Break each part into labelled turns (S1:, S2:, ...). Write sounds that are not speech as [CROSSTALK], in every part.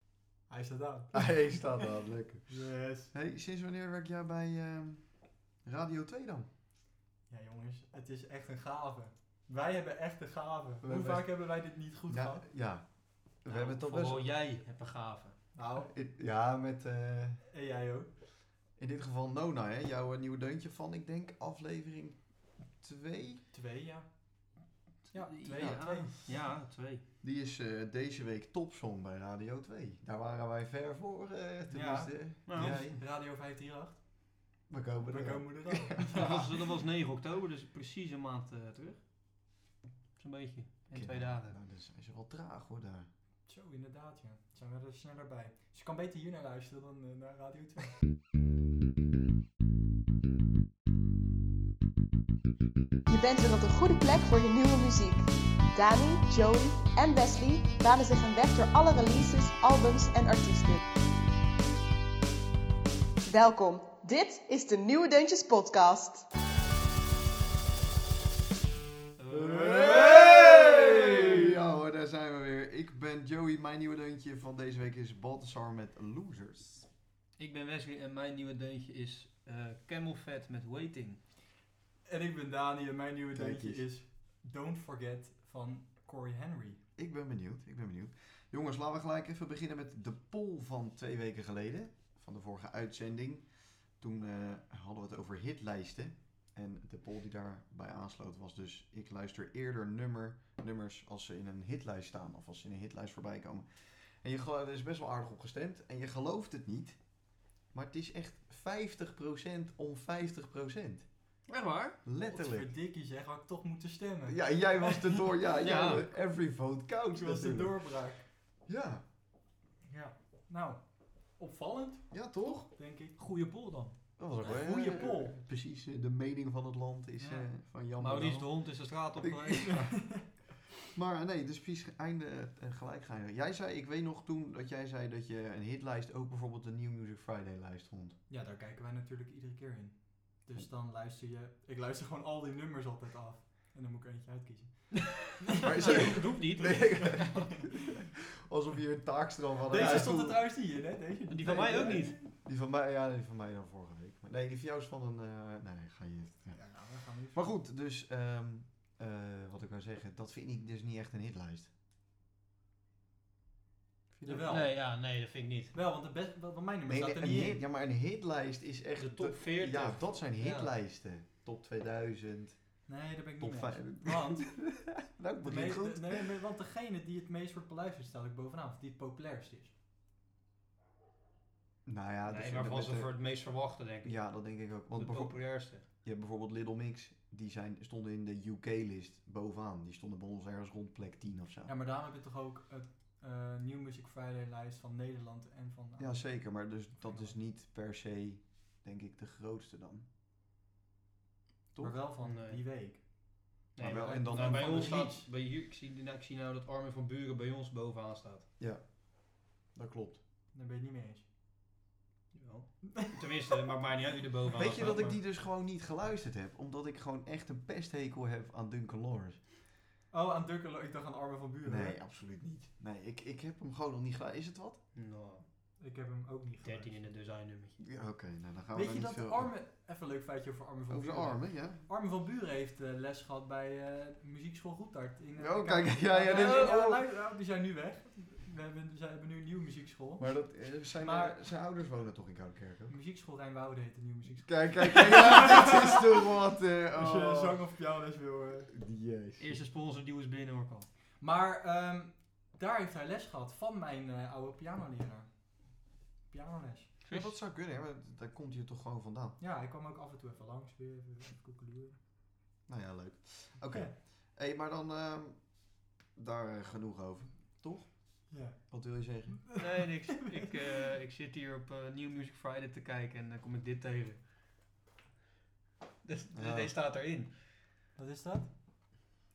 S1: [LAUGHS] Hij staat aan.
S2: [LAUGHS] Hij staat aan, lekker.
S1: Yes.
S2: Hey, sinds wanneer werk jij bij ehm, Radio 2 dan?
S1: Ja jongens, het is echt een gave. Wij hebben echt een gave. Hoe
S2: hebben-
S1: vaak hebben wij dit niet goed
S2: ja,
S1: gehad?
S2: ja. We
S3: Nou,
S2: hebben toch best...
S3: Vooral jij hebt een gave.
S1: Nou,
S2: Ja, met eh,
S1: en jij ook.
S2: in dit geval Nona, hè? jouw eh, nieuwe deuntje van, ik denk, aflevering 2.
S1: Twee, ja. Ja, twee,
S3: ja,
S1: ja, twee.
S3: Ja, twee.
S2: [LAUGHS] Die is eh, deze week topsong bij Radio 2. Daar waren wij ver voor, eh tenminste.
S3: Nou,
S2: Jij.
S1: dus Radio 538.
S2: We komen
S1: We
S2: er.
S1: komen er aan. [LAUGHS]
S3: Dat, was, dat was 9 oktober, dus precies een maand eh, terug. Zo'n beetje. In twee dagen.
S2: Nou, dan zijn ze wel traag hoor daar.
S1: Zo, inderdaad, ja. Zijn we er sneller bij. Dus je kan beter hier naar luisteren dan eh, naar Radio 2.
S4: Je bent weer op de goede plek voor je nieuwe muziek. Dani, Joey en Wesley banen zich een weg door alle releases, albums en artiesten. Welkom, dit is de Nieuwe Deuntjes Podcast.
S2: Eh.
S3: Eh,
S2: Ja hoor, daar zijn we weer. Ik ben Joey, mijn nieuwe deuntje van deze week is Baltasar met Losers.
S3: Ik ben Wesley en mijn nieuwe deuntje is eh Camel Fat met Waiting.
S1: [LAUGHS] En ik ben Dani en mijn nieuwe
S2: Kijk
S1: deuntje
S2: eens.
S1: is Don't Forget van Corey Henry.
S2: Ik ben benieuwd, ik ben benieuwd. Jongens, laten we gelijk even beginnen met de poll van twee weken geleden. Van de vorige uitzending. Toen eh, hadden we het over hitlijsten. En de poll die daarbij aansloot was dus... Ik luister eerder nummer, nummers als ze in een hitlijst staan. Of als ze in een hitlijst voorbij komen. En je, gelo- er is best wel aardig op gestemd. En je gelooft het niet. Maar het is echt 50% om 50%.
S3: Echt waar?
S2: Letterlijk.
S1: Verdikkie zeg, had ik toch moeten stemmen.
S2: Ja, jij was de door. Ja,
S3: Ja.
S2: ja. every vote counts
S1: Toen was de
S2: natuurlijk.
S1: doorbraak.
S2: Ja,
S1: Ja. Nou, opvallend,
S2: ja toch?
S1: denk ik.
S3: Goeie pool dan.
S2: Dat was ook wel
S1: Een goede
S2: eh,
S1: poll.
S2: eh, Precies, eh, de mening van het land is
S3: Ja.
S2: eh, van Jan.
S3: Maurice de
S2: Bernal.
S3: Hond is de straat op
S2: Ik-
S3: geweest.
S2: Maar eh, nee, dus precies einde eh, gelijk gaan. Jij zei, ik weet nog toen dat jij zei dat je een hitlijst ook bijvoorbeeld de New Music Friday lijst vond.
S1: Ja, daar kijken wij natuurlijk iedere keer in. Dus dan luister je... Ik luister gewoon al die nummers altijd af. En dan moet ik eentje uitkiezen.
S2: [LAUGHS] Maar is
S3: Nee, dat hoeft niet.
S2: [LAUGHS] Alsof je een taakstraf had.
S1: Deze
S2: Ja,
S1: stond er
S2: toen-
S1: trouwens niet in, hè? Deze
S3: Die van mij ook niet.
S2: Die van mij, ja, die van mij dan vorige week. Maar nee, die van jou is van een. eh, nee, ga je. ja.
S1: Ja, nou, we gaan we niet-
S2: Maar goed, dus ehm, eh, wat ik wou zeggen, dat vind ik dus niet echt een hitlijst. Vind je dat-
S1: Jawel.
S3: Nee, ja, nee, dat vind ik niet.
S1: Wel, want de best, want mijn nummer
S2: Nee,
S1: staat
S2: nee,
S1: er
S2: een
S1: niet
S2: hit,
S1: in.
S2: ja, maar een hitlijst is echt...
S3: De top 40.
S2: Ja, dat zijn
S3: Ja.
S2: hitlijsten. Top 2000,
S1: Nee, daar ben ik
S2: top
S1: niet mee.
S2: 5. [LAUGHS]
S1: Want,
S2: Nou,
S1: de
S2: begin
S1: me-
S2: goed.
S1: de- nee, maar- want degene die het meest wordt beluisterd, stel ik bovenaan. Of die het populairst is.
S2: Nou ja,
S3: nee,
S2: dus
S3: maar
S2: de-
S3: van
S2: met
S3: ze
S2: de-
S3: voor het meest verwachten, denk ik.
S2: Ja, dat denk ik ook. Want
S3: de
S2: bijvoorbeeld,
S3: populairste.
S2: je hebt bijvoorbeeld Little Mix, die zijn, stonden in de UK-list bovenaan. Die stonden bij ons ergens rond plek 10 of zo.
S1: Ja, maar daarom heb je toch ook het eh, New Music Friday lijst van Nederland en van...
S2: Ja, zeker. Maar dus, dat is niet per se, denk ik, de grootste dan. Toch?
S1: Maar wel van
S3: Nee.
S1: die week.
S3: Nee,
S2: maar Ah, wel-
S3: maar-
S2: en dan
S3: nou, bij
S1: van de
S3: ons
S1: liedjes.
S3: staat, bij hier, ik, zie, nou, ik zie nou dat Armin van Buren bij ons bovenaan staat.
S2: Dat klopt.
S1: Daar ben je het niet mee eens.
S3: Jawel. [LAUGHS] Tenminste, het maakt mij niet uit wie er bovenaan
S2: Weet je
S3: staat,
S2: dat ik
S3: maar-
S2: die dus gewoon niet geluisterd heb? Omdat ik gewoon echt een pesthekel heb aan Duncan Lawrence.
S1: Oh, aan Dukkelo, ik dacht aan Armin van Buren.
S2: Nee, absoluut niet. Nee, ik, ik heb hem gewoon nog niet gedaan. Is het wat?
S3: Nou,
S1: Ik heb hem ook niet
S3: 13 in
S1: geluisterd.
S3: het design nummertje.
S2: Ja, oké. nou, dan gaan we
S1: Weet je
S2: daar niet
S1: dat
S2: veel
S1: Armin... Even een leuk feitje over Armin van
S2: Over zijn
S1: Buren.
S2: armen, ja.
S1: Armin van Buren heeft eh, les gehad bij eh, muziekschool Goedart. In, eh,
S2: Oh, kijk, ja, ja, dit is- oh.
S1: luister, nou, die zijn nu weg. We hebben, ze hebben nu een nieuwe muziekschool.
S2: Maar dat, eh, zijn,
S1: Maar-
S2: eh, zijn ouders wonen toch in Koudekerk [LAUGHS] ook?
S1: Muziekschool Rijnwoude heet de nieuwe muziekschool.
S2: Kijk, kijk, kijk. ja, [LAUGHS] dit is toch wat. eh,
S1: Als je
S2: oh.
S1: zang of pianoles wil. eh.
S2: Jezus.
S3: Eerste sponsor die was binnen hoor, kan.
S1: Maar ehm, daar heeft hij les gehad van mijn eh, oude pianoleraar. Pianoles.
S2: Ja, dat zou kunnen, hè, maar daar komt hij toch gewoon vandaan.
S1: Ja, hij kwam ook af en toe even langs weer, even, even koekeloeren.
S2: Nou ja, leuk. Oké.
S1: Ja.
S2: hey, maar dan ehm, daar eh, genoeg over. Toch?
S1: Ja.
S2: Wat wil je zeggen?
S3: Nee, [LAUGHS] niks. Ik, eh, ik zit hier op eh, New Music Friday te kijken en dan kom ik dit tegen. Dus, dus
S2: Ja.
S3: deze staat erin.
S1: Wat is dat?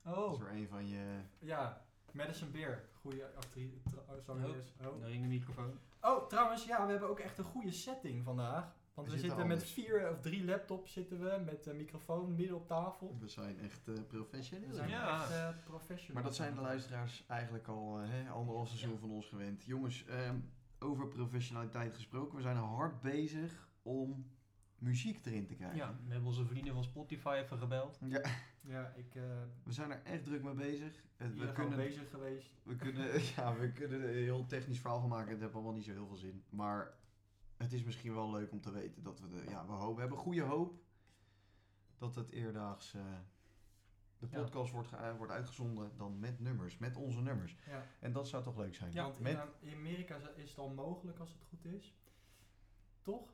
S2: Dat is
S1: Oh,
S2: weer een van je...
S1: ja. Madison Beer. Goede actrice. zangeres. Oh.
S3: Dan ging Nou, de microfoon.
S1: oh, trouwens, ja, we hebben ook echt een goede setting vandaag. Want
S2: We
S1: we
S2: zitten
S1: zitten met
S2: anders.
S1: vier of drie laptops zitten we, met een microfoon midden op tafel.
S2: We zijn echt eh,
S1: We
S2: professioneel.
S1: zijn
S3: Ja.
S1: echt eh, professional.
S2: Maar dat zijn de luisteraars eigenlijk al eh, hè, anderhalf seizoen van ons gewend. Jongens, ehm, oké, over professionaliteit gesproken. We zijn hard bezig om muziek erin te krijgen.
S3: Ja, we hebben onze vrienden van Spotify even gebeld.
S2: Ja,
S1: Ja, ik eh
S2: we zijn er echt druk mee bezig. Het-
S1: ben
S2: We
S1: kunnen...
S2: kunnen,
S1: bezig geweest.
S2: we, kunnen, [LAUGHS] ja, we kunnen er een heel technisch verhaal van maken. Het heeft allemaal niet zo heel veel zin. Maar het is misschien wel leuk om te weten dat we... De, ja, we, hopen, we hebben goede hoop dat het eerdaags... eh, de
S3: Ja.
S2: podcast wordt, ge- wordt uitgezonden dan met nummers. Met onze nummers.
S1: Ja.
S2: En dat zou toch leuk zijn.
S3: Ja,
S1: Want in,
S2: met,
S1: Am- in Amerika za- is het al mogelijk als het goed is. Toch?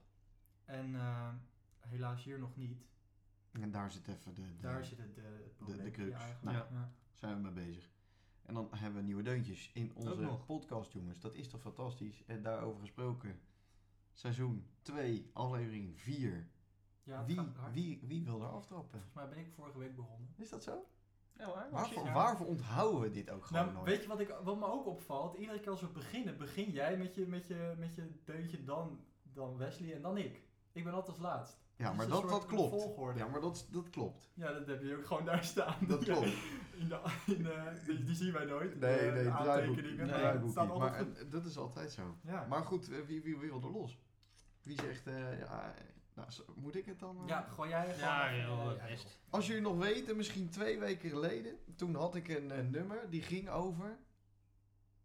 S1: En eh, helaas hier nog niet.
S2: en daar zit even de... de-
S1: Daar zit het eh, het probleem
S2: de crux.
S1: eigenlijk.
S3: Nou.
S1: Ja.
S2: zijn we mee bezig. En dan hebben we nieuwe deuntjes in
S3: Ook
S2: onze
S3: nog.
S2: podcast, jongens. Dat is toch fantastisch? En daarover gesproken, seizoen 2, aflevering 4.
S1: Ja, het
S2: wie,
S1: gaat hard.
S2: wie, wie wil er aftrappen?
S1: Volgens mij ben ik vorige week begonnen.
S2: Is dat zo?
S3: Ja, waar?
S2: Waarvoor,
S1: ja.
S2: waarvoor onthouden we dit ook gewoon
S1: Nou,
S2: nooit?
S1: weet je wat, ik, wat me ook opvalt? Iedere keer als we beginnen, begin jij met je, met je, met je deuntje, dan, dan Wesley en dan ik. Ik ben altijd als laatst.
S2: ja,
S1: is
S2: maar
S1: een
S2: dat,
S1: soort
S2: dat klopt.
S1: volgorde.
S2: Ja, maar dat, dat
S1: [LAUGHS]
S2: klopt.
S1: Ja, dat heb je ook gewoon daar staan. [LAUGHS]
S2: Dat
S1: Ja,
S2: klopt.
S1: In de, in
S2: [LAUGHS]
S1: de, die, die zien wij nooit.
S2: Nee,
S1: de,
S2: nee,
S1: de
S2: draaiboek,
S1: aantekeningen.
S3: nee,
S1: Nee, het
S2: draaiboek
S1: staat
S2: niet.
S1: altijd
S2: Maar
S1: goed.
S2: eh, dat is altijd zo.
S1: Ja.
S2: Maar goed, eh, wie, wie, wie wil er los? Wie zegt, eh, ja, eh, nou, zo- moet ik het dan? eh?
S1: ja, gooi jij gewoon
S3: Ja,
S1: even,
S3: joh,
S1: eh,
S3: het
S1: ja,
S3: best.
S1: joh.
S2: Als jullie nog weten, misschien twee weken geleden, toen had ik een eh, nummer die ging over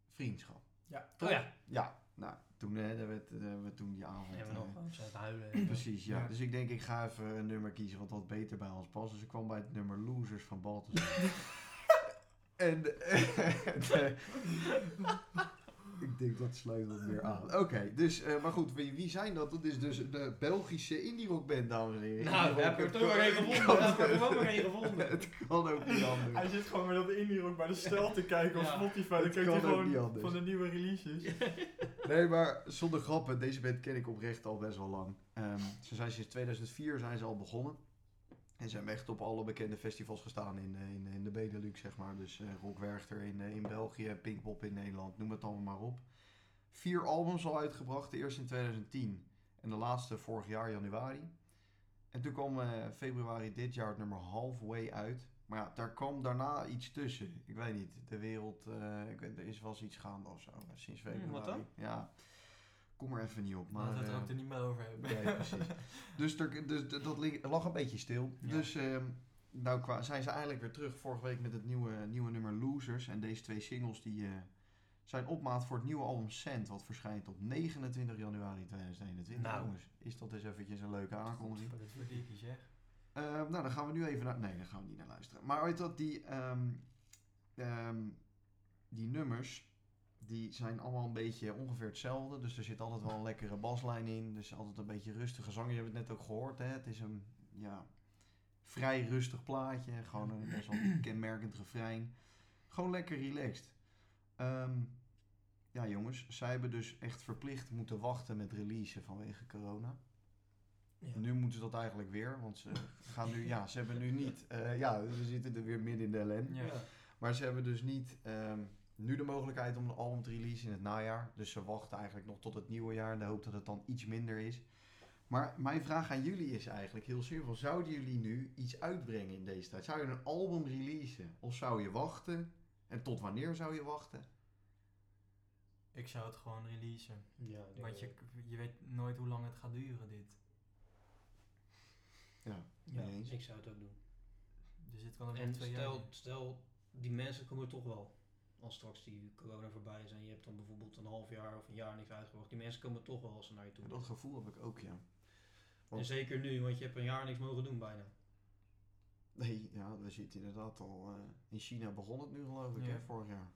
S2: vriendschap.
S1: Ja.
S2: Toch?
S3: Oh ja,
S2: Ja, nou, toen eh, daar werd, eh, hebben we toen die avond.
S3: hebben we
S2: eh,
S3: nog gewoon aan het huilen. en zo.
S2: Precies, ja.
S1: Ja.
S2: Dus ik denk, ik ga even een nummer kiezen wat wat beter bij ons past. Dus ik kwam bij het nummer Losers van Balthasar.
S3: [LAUGHS]
S2: en... eh, [LAUGHS] ik denk, dat sluit wat meer aan. Oké, dus, eh, maar goed, wie, wie zijn dat? Dat is dus de Belgische indie rock band, dames en heren.
S3: Nou, we hebben er toch weer een gevonden. We hebben er toch weer een
S2: [LAUGHS]
S3: gevonden.
S2: Het kan ook niet anders.
S1: Hij zit gewoon met dat indie ook bij de stel te kijken op
S3: Ja.
S1: Spotify. Dan
S2: Het
S1: kijkt
S2: kan
S1: hij
S2: ook niet
S1: gewoon
S2: anders.
S1: van de nieuwe releases.
S2: Nee, maar zonder grappen, deze band ken ik oprecht al best wel lang. Ehm, ze zijn sinds 2004 zijn ze al begonnen. En ze hebben echt op alle bekende festivals gestaan in, eh, in, in de Benelux, zeg maar. Dus eh Rock Werchter in, eh, in België, Pinkpop in Nederland, noem het allemaal maar op. Vier albums al uitgebracht, de eerste in 2010 en de laatste vorig jaar januari. En toen kwam eh, februari dit jaar het nummer Halfway uit. Maar ja, daar kwam daarna iets tussen. Ik weet niet, de wereld, eh, ik weet, er is wel eens iets gaande of zo eh, sinds
S3: Hmm, wat
S2: februari.
S3: dan? Nou,
S2: Ja, kom er even niet op. Maar,
S1: Laten we
S2: eh,
S1: het er niet meer over hebben.
S2: Nee, precies. dus er, dus d- dat li- lag een beetje stil.
S1: Ja.
S2: Dus ehm, nou kwa- zijn ze eigenlijk weer terug vorige week met het nieuwe, nieuwe nummer Losers. En deze twee singles die, eh, zijn opmaat voor het nieuwe album Sand. Wat verschijnt op 29 januari 2021.
S3: Nou.
S2: Jongens, is dat eens eventjes een leuke aankondiging.
S1: Wat voor die ik je zeg.
S2: Eh, nou, dan gaan we nu even naar... Nee, daar gaan we niet naar luisteren. Maar weet je wat, die, ehm, ehm, die nummers, die zijn allemaal een beetje ongeveer hetzelfde. Dus er zit altijd wel een lekkere baslijn in. Dus altijd een beetje rustige zang. Je hebt het net ook gehoord, hè. Het is een, ja, vrij rustig plaatje. Gewoon een best wel kenmerkend refrein. Gewoon lekker relaxed. Ehm, ja, jongens, zij hebben dus echt verplicht moeten wachten met releasen vanwege corona. En Nu moeten ze dat eigenlijk weer, want ze gaan nu, ja, ze hebben nu niet, eh, ja, ze zitten er weer midden in de ellende.
S1: Ja.
S3: Ja.
S2: Maar ze hebben dus niet ehm, nu de mogelijkheid om een album te releasen in het najaar. Dus ze wachten eigenlijk nog tot het nieuwe jaar in de hoop dat het dan iets minder is. Maar mijn vraag aan jullie is eigenlijk heel simpel. Zouden jullie nu iets uitbrengen in deze tijd? Zou je een album releasen? Of zou je wachten? En tot wanneer zou je wachten?
S1: Ik zou het gewoon releasen.
S3: Ja, ik denk
S1: Want
S3: wel.
S1: je, je weet nooit hoe lang het gaat duren, dit.
S3: Ja,
S2: Mee eens.
S3: ik zou het ook doen.
S1: Dus dit kan er wel
S3: En
S1: twee jaar in.
S3: stel, stel, die mensen komen toch wel. Als straks die corona voorbij is en je hebt dan bijvoorbeeld een half jaar of een jaar niks uitgebracht. Die mensen komen toch wel als ze naar je toe.
S2: Dat gevoel heb ik ook, ja.
S3: En zeker nu, want je hebt een jaar niks mogen doen bijna.
S2: Nee, ja, we zitten inderdaad al... eh, in China begon het nu geloof ik,
S1: Ja.
S2: hè, vorig jaar.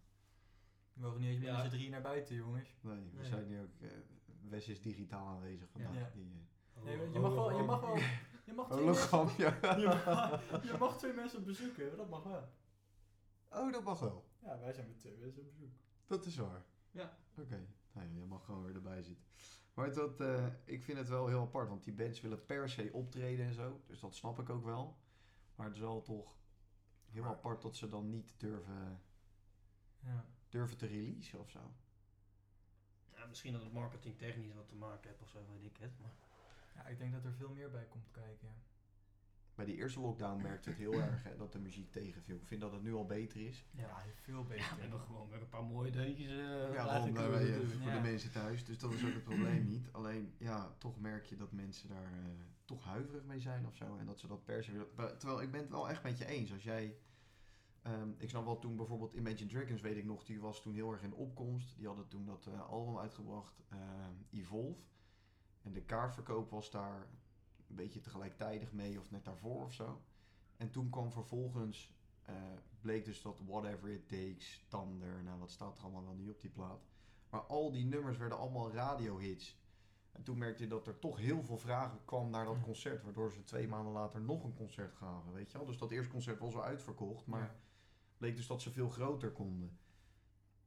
S1: We mogen niet eens meer
S3: Ja.
S1: met z'n drieën naar buiten, jongens.
S2: Nee, we
S3: Nee.
S2: zijn nu ook. eh Wes is digitaal aanwezig vandaag.
S1: Ja.
S2: Die, eh,
S1: Nee,
S3: Oh,
S1: je mag wel... Je
S3: [LAUGHS]
S1: mag wel... Je mag twee mensen...
S2: hologram, [LAUGHS] ja.
S1: [LAUGHS] Je mag, je mag twee mensen op bezoek hebben, dat mag wel.
S2: Oh, dat mag wel.
S1: Ja, wij zijn met twee mensen op bezoek.
S2: Dat is waar.
S3: Ja.
S2: Oké, nou ja, je mag gewoon weer erbij zitten. Maar weet je wat, eh, ik vind het wel heel apart, want die bands willen per se optreden en zo. Dus dat snap ik ook wel. Maar het is wel toch heel
S1: Maar-
S2: apart dat ze dan niet durven,
S1: Ja.
S2: durven te releasen of zo.
S3: Ja, misschien dat het marketingtechnisch wat te maken heeft of zo, weet ik het. Maar
S1: ja, ik denk dat er veel meer bij komt kijken. ja.
S2: bij die eerste lockdown merkte het heel erg hè, dat de muziek tegenviel. Ik vind dat het nu al beter is.
S1: Ja, veel
S3: Ja, we
S1: beter.
S3: hebben gewoon weer een paar mooie deuntjes eh
S2: ja, daarom
S3: laten
S2: daar
S3: keuren
S2: ben je
S3: natuurlijk.
S2: voor
S1: Ja.
S2: de mensen thuis. Dus dat is ook het probleem niet. Alleen, ja, toch merk je dat mensen daar eh, toch huiverig mee zijn of zo. En dat ze dat per se willen. Maar- Terwijl, ik ben het wel echt met je eens. Als jij... ehm, ik snap wel toen bijvoorbeeld Imagine Dragons, weet ik nog, die was toen heel erg in opkomst. Die hadden toen dat eh, album uitgebracht, eh, Evolve. En de kaartverkoop was daar een beetje tegelijkertijdig mee of net daarvoor of zo. En toen kwam vervolgens, eh, bleek dus dat Whatever It Takes, Thunder, nou wat staat er allemaal wel niet op die plaat. Maar al die nummers werden allemaal radiohits. En toen merkte je dat er toch heel veel vragen kwam naar dat concert. Waardoor ze twee maanden later nog een concert gaven, weet je wel. Dus dat eerste concert was al uitverkocht, maar
S1: Ja.
S2: bleek dus dat ze veel groter konden.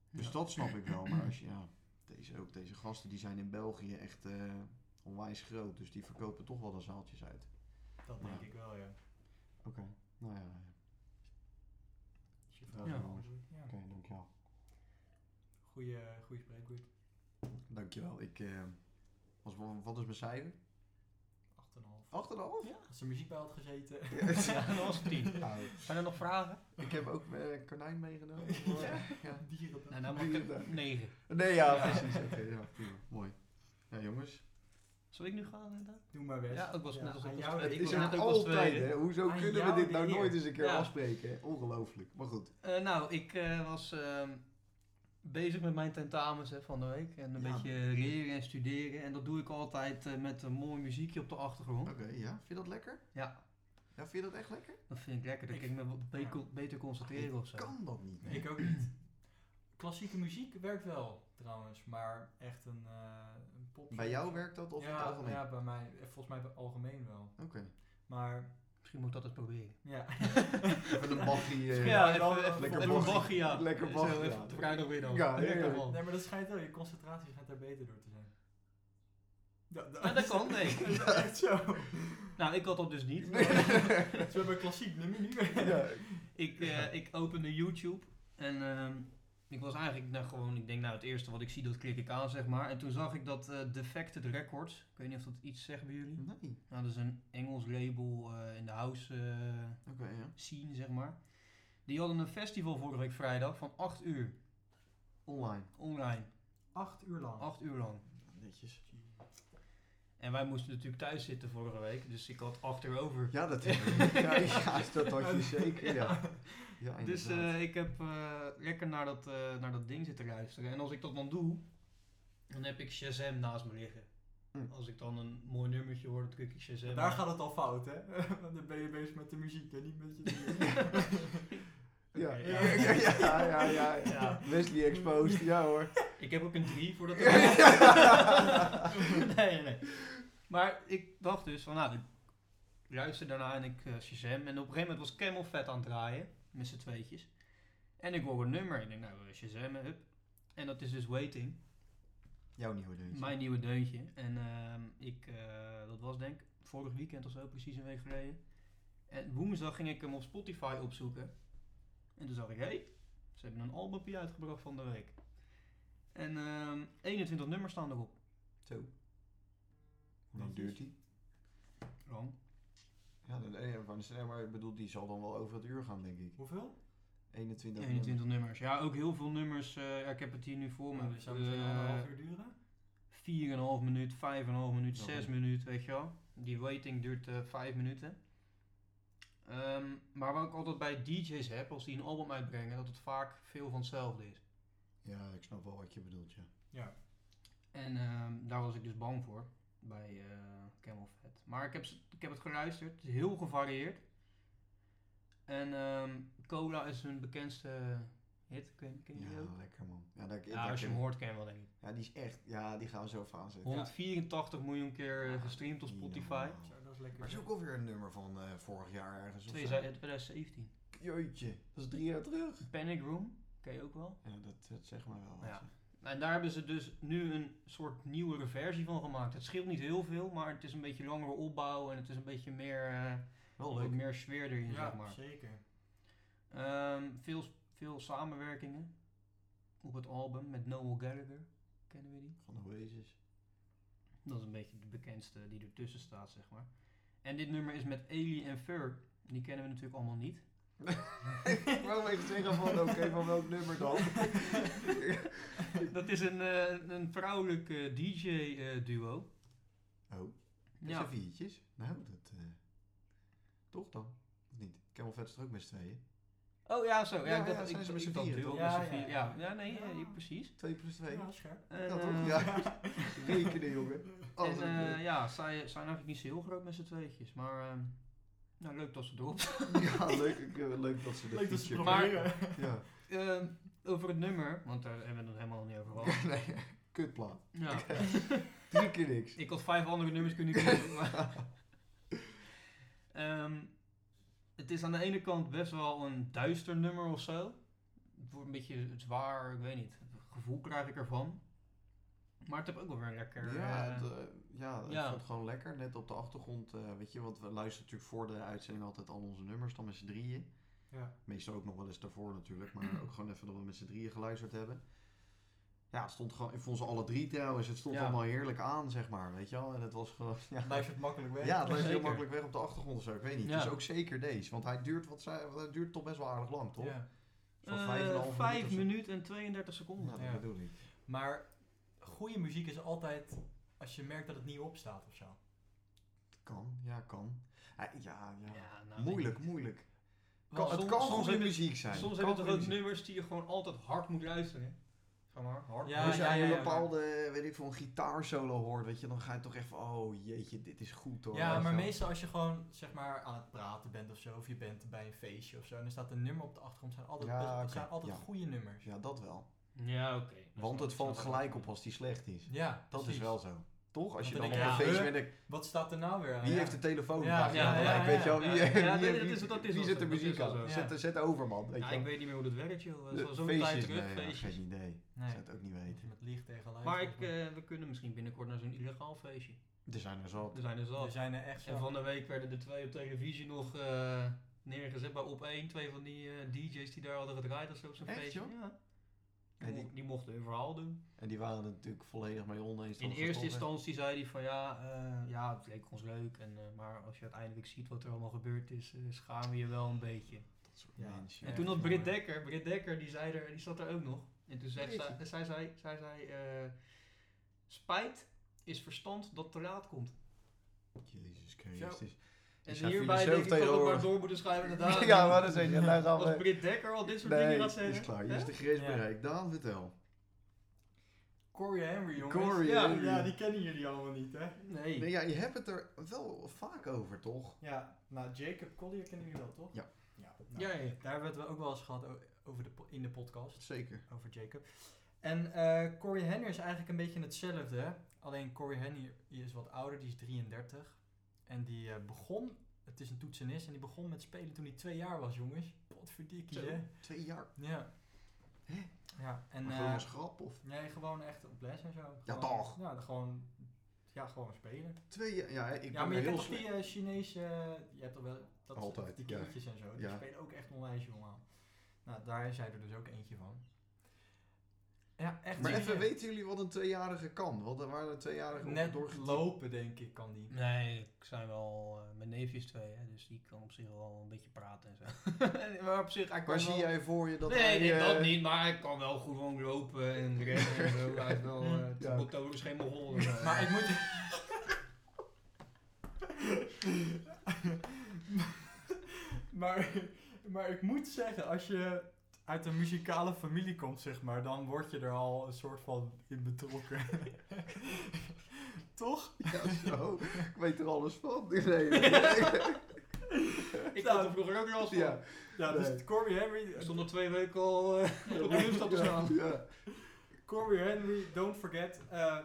S2: Dus
S3: Ja.
S2: dat snap ik wel. Maar als je, ja, deze, ook deze gasten die zijn in België echt eh, onwijs groot. Dus die verkopen toch wel de zaaltjes uit.
S1: Dat denk ik wel, ja.
S2: Oké, nou ja.
S1: Als je
S2: Ja.
S1: vraagt, dan is het- ja.
S2: Oké, dankjewel.
S1: Goeie, goeie spreekwoord. 8,5.
S2: Dankjewel. Ik, eh, was, wat is mijn cijfer? Oh. 8,5?
S1: Als er muziek bij had gezeten.
S3: [LAUGHS] Ja, dat was het tien.
S2: Nou,
S3: Zijn er nog vragen?
S2: ik heb ook eh karnijn meegenomen.
S1: Ja.
S2: ja.
S1: [LAUGHS] Dieren.
S3: Nou, dan mag ik er negen.
S2: Nee, ja,
S1: Ja.
S2: precies. Oké, ja, prima. Mooi. Ja, jongens.
S3: Zal ik nu gaan inderdaad?
S1: Doe maar best.
S3: Ja, ik was net als-
S1: aan
S3: ik was
S1: jou
S3: net-
S1: de
S2: Het
S3: was
S2: is ook
S3: ook als
S2: altijd,
S3: tweede.
S2: hè? Hoezo
S1: Aan
S2: kunnen we
S1: jou
S2: dit
S1: de
S2: nou
S1: eer.
S2: nooit eens een keer
S3: Ja.
S2: afspreken? hè? Ongelooflijk. Maar goed.
S3: Eh, nou, ik eh, was ehm, bezig met mijn tentamens hè, van de week. En een
S2: Ja.
S3: beetje leren en studeren. En dat doe ik altijd eh, met een mooi muziekje op de achtergrond.
S2: Oké, ja. Vind je dat lekker?
S3: Ja,
S2: Ja, vind je dat echt lekker?
S3: dat vind ik lekker. Dan
S1: Ik-
S3: kan ik me wat be-
S1: ja.
S3: beter concentreren of zo.
S2: Kan dat niet?
S1: Ik ook niet. Klassieke muziek werkt wel, trouwens. Maar echt een, eh een pop.
S2: Bij jou werkt dat of in het
S1: ja,
S2: algemeen?
S1: ja, bij mij. eh, Volgens mij bij- algemeen wel.
S2: Oké.
S1: Maar,
S3: Misschien moet ik dat eens proberen.
S1: ja.
S2: [LAUGHS] Even een
S1: [LAUGHS]
S2: bachie. eh,
S1: Ja,
S3: Ja,
S1: dan-
S3: even, even,
S2: lekker
S3: even een
S2: baggie.
S3: baggie, ja.
S2: Lekker
S3: Zo,
S2: baggie,
S3: even
S2: ja.
S3: op de vrijdagmiddag.
S2: Ja,
S3: lekker
S2: heerlijk.
S3: man.
S1: Nee, maar dat schijnt wel. Je concentratie schijnt daar beter door te zijn. [LAUGHS] Ja,
S3: Ja, dat kan, nee.
S1: Dat is echt zo.
S3: Nou, ik had dat dus niet.
S1: [LAUGHS] Zo bij klassiek nummer niet [LAUGHS] meer.
S2: Ja.
S3: Ik, eh, ik opende YouTube en ehm, ik was eigenlijk nou, gewoon, ik denk nou het eerste wat ik zie, dat klik ik aan zeg maar. En toen zag ik dat eh, Defected Records, ik weet niet of dat iets zegt bij jullie.
S2: Nee.
S3: Nou, dat is een Engels label eh, in de house eh,
S2: Oké, ja.
S3: scene zeg maar. Die hadden een festival vorige week vrijdag van 8 uur
S2: Online.
S3: online,
S1: Acht uur lang.
S3: 8 uur lang.
S2: Netjes.
S3: En wij moesten natuurlijk thuis zitten vorige week, dus ik had achterover.
S2: Ja, dat,
S3: [LAUGHS]
S2: ja, ja, dat had je zeker. Ja. Ja,
S3: Dus
S2: inderdaad.
S3: eh, ik heb eh, lekker naar dat, eh, naar dat ding zitten luisteren. En als ik dat dan doe, dan heb ik Shazam naast me liggen.
S2: Hm.
S3: Als ik dan een mooi nummertje hoor, dan druk ik Shazam.
S1: Daar
S3: aan.
S1: gaat het al fout, hè? [LAUGHS] Want dan ben je bezig met de muziek en niet met je. [LAUGHS]
S3: [LAUGHS]
S2: ja.
S3: Oké,
S2: Ja, ja, ja, ja, ja,
S3: eh, Ja.
S2: Wesley exposed, ja hoor.
S3: Ik heb ook een
S2: [LAUGHS]
S3: 3 voor dat.
S2: Ja.
S3: nee, nee, nee. Maar ik dacht dus van, nou, ik luister daarna en ik eh Shazam. En op een gegeven moment was Camel Vet aan het draaien, met z'n tweetjes. En ik hoor een nummer. Ik denk, nou, eh, Shazam, hup. En dat is dus Waiting.
S2: Jouw nieuwe deuntje.
S3: Mijn nieuwe deuntje. En ehm, ik, eh, dat was denk ik vorig weekend of zo, precies een week geleden. En woensdag ging ik hem op Spotify opzoeken. En toen zag ik, hé, hey, ze hebben een albumpje uitgebracht van de week. En ehm, 21 nummers staan erop.
S2: Zo. Hoe lang
S1: Netjes.
S2: duurt die?
S3: Wrong.
S2: Ja, dat, eh, ja, van de snel, maar ik bedoel, die zal dan wel over het uur gaan, denk ik.
S1: Hoeveel?
S2: 21
S3: 21 nummers. Ja, ook heel veel nummers. eh, ja, ik heb het hier nu voor me.
S1: Nou, dat zou meteen
S3: Eh,
S1: anderhalf uur duren.
S3: 4,5 minuut, 5,5 minuut,
S2: Oké.
S3: 6 minuut, weet je wel. Die waiting duurt eh 5 minuten. Ehm, maar wat ik altijd bij DJ's heb, als die een album uitbrengen, dat het vaak veel van hetzelfde is.
S2: Ja, ik snap wel wat je bedoelt, ja.
S3: En ehm, daar was ik dus bang voor bij eh Camel Fat. Maar ik heb, ze- ik heb het geluisterd, het is heel gevarieerd. En ehm, Cola is hun bekendste hit, ken, ken je die ook?
S2: Ja, lekker man. Ja, daar,
S3: Ja,
S2: daar
S3: als je hem
S2: ken-
S3: hoort ken je hem wel denk ik.
S2: ja, die is echt, ja, die gaan we zo even aanzetten.
S3: 184 miljoen keer eh, gestreamd op
S2: Ja.
S3: Spotify.
S1: Zo, dat is lekker.
S2: Maar het is ook alweer een nummer van eh, vorig jaar ergens. of
S3: Twee-
S2: zo.
S3: 2017.
S2: Jeetje, dat is drie jaar terug.
S3: Panic Room, ken je ook wel.
S2: Ja, dat, dat zeg maar wel. wat,
S3: Ja.
S2: hè.
S3: En daar hebben ze dus nu een soort nieuwere versie van gemaakt. Het scheelt niet heel veel, maar het is een beetje langere opbouw en het is een beetje meer, eh,
S2: Wel
S3: wat
S2: leuk.
S3: meer sfeer erin,
S1: Ja,
S3: zeg maar.
S1: zeker.
S3: Ehm, veel, veel samenwerkingen op het album met Noel Gallagher, kennen we die?
S2: Van Oasis.
S3: Dat is een beetje de bekendste die ertussen staat, zeg maar. En dit nummer is met Ailey en Fur. Die kennen we natuurlijk allemaal niet.
S2: [LAUGHS] [LAUGHS] Ik wou even zeggen van, oké, van welk nummer dan?
S3: [LAUGHS] Dat is een, eh, een vrouwelijk eh, DJ-duo.
S2: Oh, ja.
S3: ja,
S2: zijn viertjes. Nou, dat... eh, toch dan? Of niet? Camel Vet is er ook met z'n tweeën.
S3: Oh ja, zo. Ja,
S2: Ja,
S3: ik
S2: ja,
S3: dacht,
S2: zijn
S3: ik,
S2: ze met
S3: ik
S2: z'n
S3: dacht
S2: vieren,
S3: duo
S1: toch?
S3: met
S1: Ja,
S3: z'n vieren.
S1: ja,
S3: Ja,
S1: ja.
S3: ja, nee, eh,
S1: Ja.
S3: precies.
S2: Twee plus twee.
S1: Ja, scherp.
S3: En,
S2: Ja, toch?
S3: eh,
S2: Ja. Oh, Rekenen, jongen.
S3: En,
S2: Alles
S3: eh,
S2: goed.
S3: ja, zij zijn eigenlijk niet zo heel groot met z'n tweetjes, maar ehm, nou, leuk dat ze erop [LAUGHS]
S2: [LAUGHS]
S3: zijn.
S2: ja, leuk, ik, eh, leuk dat ze dit
S1: Leuk dat ze het
S2: feature-
S1: proberen.
S3: Maar-
S2: Ja.
S3: Ehm, over het nummer, want daar hebben we het helemaal niet over gehad.
S2: nee, [LAUGHS] kutplaat.
S3: Ja.
S2: [LAUGHS]
S3: [LAUGHS]
S2: Drie keer niks.
S3: Ik had vijf andere nummers
S2: [LAUGHS]
S3: kunnen kiezen. maar- Ehm, het is aan de ene kant best wel een duister nummer of zo. Het wordt een beetje zwaar, ik weet niet. Gevoel krijg ik ervan. Maar het heeft ook wel weer een lekker.
S2: Ja,
S3: eh,
S2: het, eh, ja, het
S3: ja.
S2: vond gewoon lekker. Net op de achtergrond, eh, weet je, want we luisteren natuurlijk voor de uitzending altijd al onze nummers, dan met z'n drieën.
S1: Ja.
S2: Meestal ook nog wel eens daarvoor natuurlijk, maar ook gewoon even dat we met z'n drieën geluisterd hebben. Ja, het stond gewoon, ik vond ze alle drie trouwens, het stond
S3: Ja.
S2: allemaal heerlijk aan, zeg maar, weet je wel. En het was gewoon, ja,
S1: Blijft het makkelijk weg.
S2: ja het lijkt heel
S3: Zeker.
S2: makkelijk weg op de achtergrond of zo, ik weet niet.
S3: Ja.
S2: Dus ook zeker deze, want hij duurt, wat zij, want hij duurt toch best wel aardig lang, toch?
S1: Ja.
S2: Zo'n
S3: eh,
S2: vijf en een half
S3: vijf
S2: minuut of zo.
S3: minuten en 32
S2: Ja,
S3: seconden.
S2: Nou, dat
S1: Ja.
S2: bedoel ik.
S1: Maar goede muziek is altijd als je merkt dat het niet opstaat of zo.
S2: Kan, ja, kan. Ja, ja, ja.
S3: Ja, nou,
S2: moeilijk, moeilijk.
S1: Want
S2: Kan, het
S3: soms-
S2: kan
S3: soms
S2: goede
S3: heb je-
S2: muziek zijn. Kan
S3: Soms hebben toch
S2: goede
S3: ook
S2: muziek.
S3: nummers die je gewoon altijd hard moet luisteren. Zeg maar, hard.
S1: Ja,
S2: Als je
S1: ja,
S2: aan
S1: ja,
S2: een
S1: ja,
S2: bepaalde, weet ik veel, een gitaarsolo hoort, weet je, dan ga je toch echt van, oh jeetje, dit is goed hoor.
S1: Ja,
S2: Weet
S1: maar
S2: je wel.
S1: meestal als je gewoon zeg maar aan het praten bent of zo, of je bent bij een feestje of zo, en er staat een nummer op de achtergrond, zijn altijd,
S2: Ja,
S1: best-
S2: oké,
S1: zijn altijd
S2: ja.
S1: goede nummers.
S2: Ja, dat wel.
S3: Ja, oké.
S2: Want het valt gelijk op als die slecht is.
S1: Ja,
S2: Dat is
S1: precies.
S2: wel zo. Toch? Als je dan
S1: Want
S2: op
S1: dan
S2: een
S1: denk je, ja,
S2: feestje
S1: eh,
S2: bent, denk-
S1: Wat staat er nou weer aan?
S2: wie
S1: Ja.
S2: heeft de telefoon?
S1: Ja,
S2: Vraag je
S3: ja,
S2: dan
S3: ja,
S2: gelijk,
S1: ja,
S2: weet je wel.
S3: ja.
S2: Wie,
S3: Ja,
S2: wie-
S3: nee,
S2: wie-
S3: dat is- dat is
S2: wie
S3: wel
S2: zet
S3: zo,
S2: de
S3: dat is
S2: muziek
S3: wel
S2: aan?
S3: zo.
S1: Ja.
S2: Zet, zet over, man. Weet
S3: Ja,
S2: je
S3: ik
S2: wel.
S3: weet niet meer hoe dat werkt, joh. Dat is al
S2: Eh,
S3: zo'n tijd
S2: feestjes,
S3: terug,
S2: nee, ja,
S3: feestjes.
S2: Geen idee. Ik
S1: Nee,
S2: zou het ook niet weten.
S1: met licht tegen lijf.
S3: Maar
S1: volgens
S3: ik,
S1: mij.
S3: eh, we kunnen misschien binnenkort naar zo'n illegaal feestje.
S2: Er zijn er zo.
S3: Er zijn er
S1: er
S2: Dus-
S3: zat.
S1: zijn er echt zo.
S3: En van de week werden er twee op televisie nog eh, neergezet bij op één. Twee van die eh, DJ's die daar hadden gedraaid of zo op zo'n
S2: Echt,
S3: feestje.
S2: joh?
S3: Ja. Die,
S2: En
S3: mo-
S2: die-
S3: die mochten hun verhaal doen.
S2: En die waren het natuurlijk volledig mee oneens.
S3: In
S2: dat het
S3: eerste
S2: toch echt-
S3: instantie zei hij van ja, eh, ja, het leek ons leuk. En, eh, maar als je uiteindelijk ziet wat er allemaal gebeurd is, eh, schaam je je wel een beetje.
S2: Dat soort
S1: Ja.
S2: mensen,
S3: En
S2: ja.
S3: toen had
S2: Ja.
S3: Britt Dekker, Britt Dekker die, zei er, die zat er ook nog. En toen zei zij, zij, zei, zij zei, eh, spijt is verstand dat te laat komt.
S2: Jezus Christus.
S3: En
S2: Is haar
S3: hierbij
S2: filosoof
S3: denk ik dat we maar
S2: tegenwoordig?
S3: door moeten
S2: [LAUGHS]
S3: schrijven inderdaad.
S2: Ja, maar dat zeg je. Nou gaan
S3: Als
S2: we...
S3: Britt Dekker al dit soort dingen gaat
S2: is
S3: zeggen.
S2: klaar. Hier
S3: hè?
S2: is de grens
S1: Ja.
S2: bereikt. Daan, vertel.
S1: Corey Henry, jongens.
S2: Corey
S1: ja,
S2: Henry.
S1: ja, die kennen jullie allemaal niet, hè?
S3: Nee.
S2: Nee, ja, je hebt het er wel vaak over, toch?
S1: Ja, nou, Jacob Collier kennen jullie wel, toch?
S2: Ja.
S1: ja, nou,
S3: Ja, ja.
S1: Daar hebben we het ook wel eens gehad o- over de, po- in de podcast.
S2: Zeker.
S1: over Jacob. En eh Corey Henry is eigenlijk een beetje hetzelfde. hè. Alleen Corey Henry is wat ouder, die is 33. En die eh, begon, het is een toetsenist, en die begon met spelen toen hij twee jaar was, jongens. Potverdikkie,
S2: Zo.
S1: hè?
S2: Twee jaar.
S1: Ja.
S2: Hè?
S1: Ja, en...
S2: En, gewoon
S1: eh,
S2: als grap of
S1: nee, gewoon echt op les en zo.
S2: Ja,
S1: Gewoon-
S2: toch?
S1: Ja, gewoon... Ja, gewoon spelen.
S2: twee jaar. Ja, ik
S1: ja,
S2: ben
S1: maar je
S2: heel
S1: kent toch
S2: slecht.
S1: die eh, Chinese... eh, je hebt toch wel... Dat
S2: Altijd,
S1: Die
S2: ja.
S1: kindertjes en zo. Die
S2: Ja.
S1: spelen ook echt onwijs jong aan. Nou, daar is hij er dus ook eentje van. Ja, echt
S2: Maar even,
S1: serieus.
S2: weten jullie wat een tweejarige kan? Want er waren tweejarigen
S1: Net
S2: doorgetrokken.
S1: lopen, denk ik, kan die.
S3: Nee, ik zijn wel, eh, mijn neefje is twee, hè, dus die kan op zich wel een beetje praten en zo. [LAUGHS] maar op zich, hij kan
S2: Maar
S3: wel-
S2: zie jij voor je dat
S3: nee,
S2: hij,
S3: ik
S2: eh,
S3: dat niet, maar hij kan wel goed gewoon lopen en rennen en zo. Hij is wel, eh, het
S2: Ja.
S3: moet over geen Mongool. eh.
S1: Maar ik moet... [LAUGHS] maar, maar ik moet zeggen, als je uit een muzikale familie komt, zeg maar, dan word je er al een soort van in betrokken. [LAUGHS] Toch?
S2: [LAUGHS] Ja, zo. ik weet er alles van.
S1: [LAUGHS]
S2: Nee, nee,
S3: Ik
S1: Nou,
S3: had er vroeger ook last van.
S2: Ja,
S3: Ja.
S1: Ja,
S2: Nee.
S1: dus Corby Henry...
S3: Ik stond er twee weken al eh, op de rustap te staan.
S2: Ja.
S1: Corby Henry, don't forget, eh,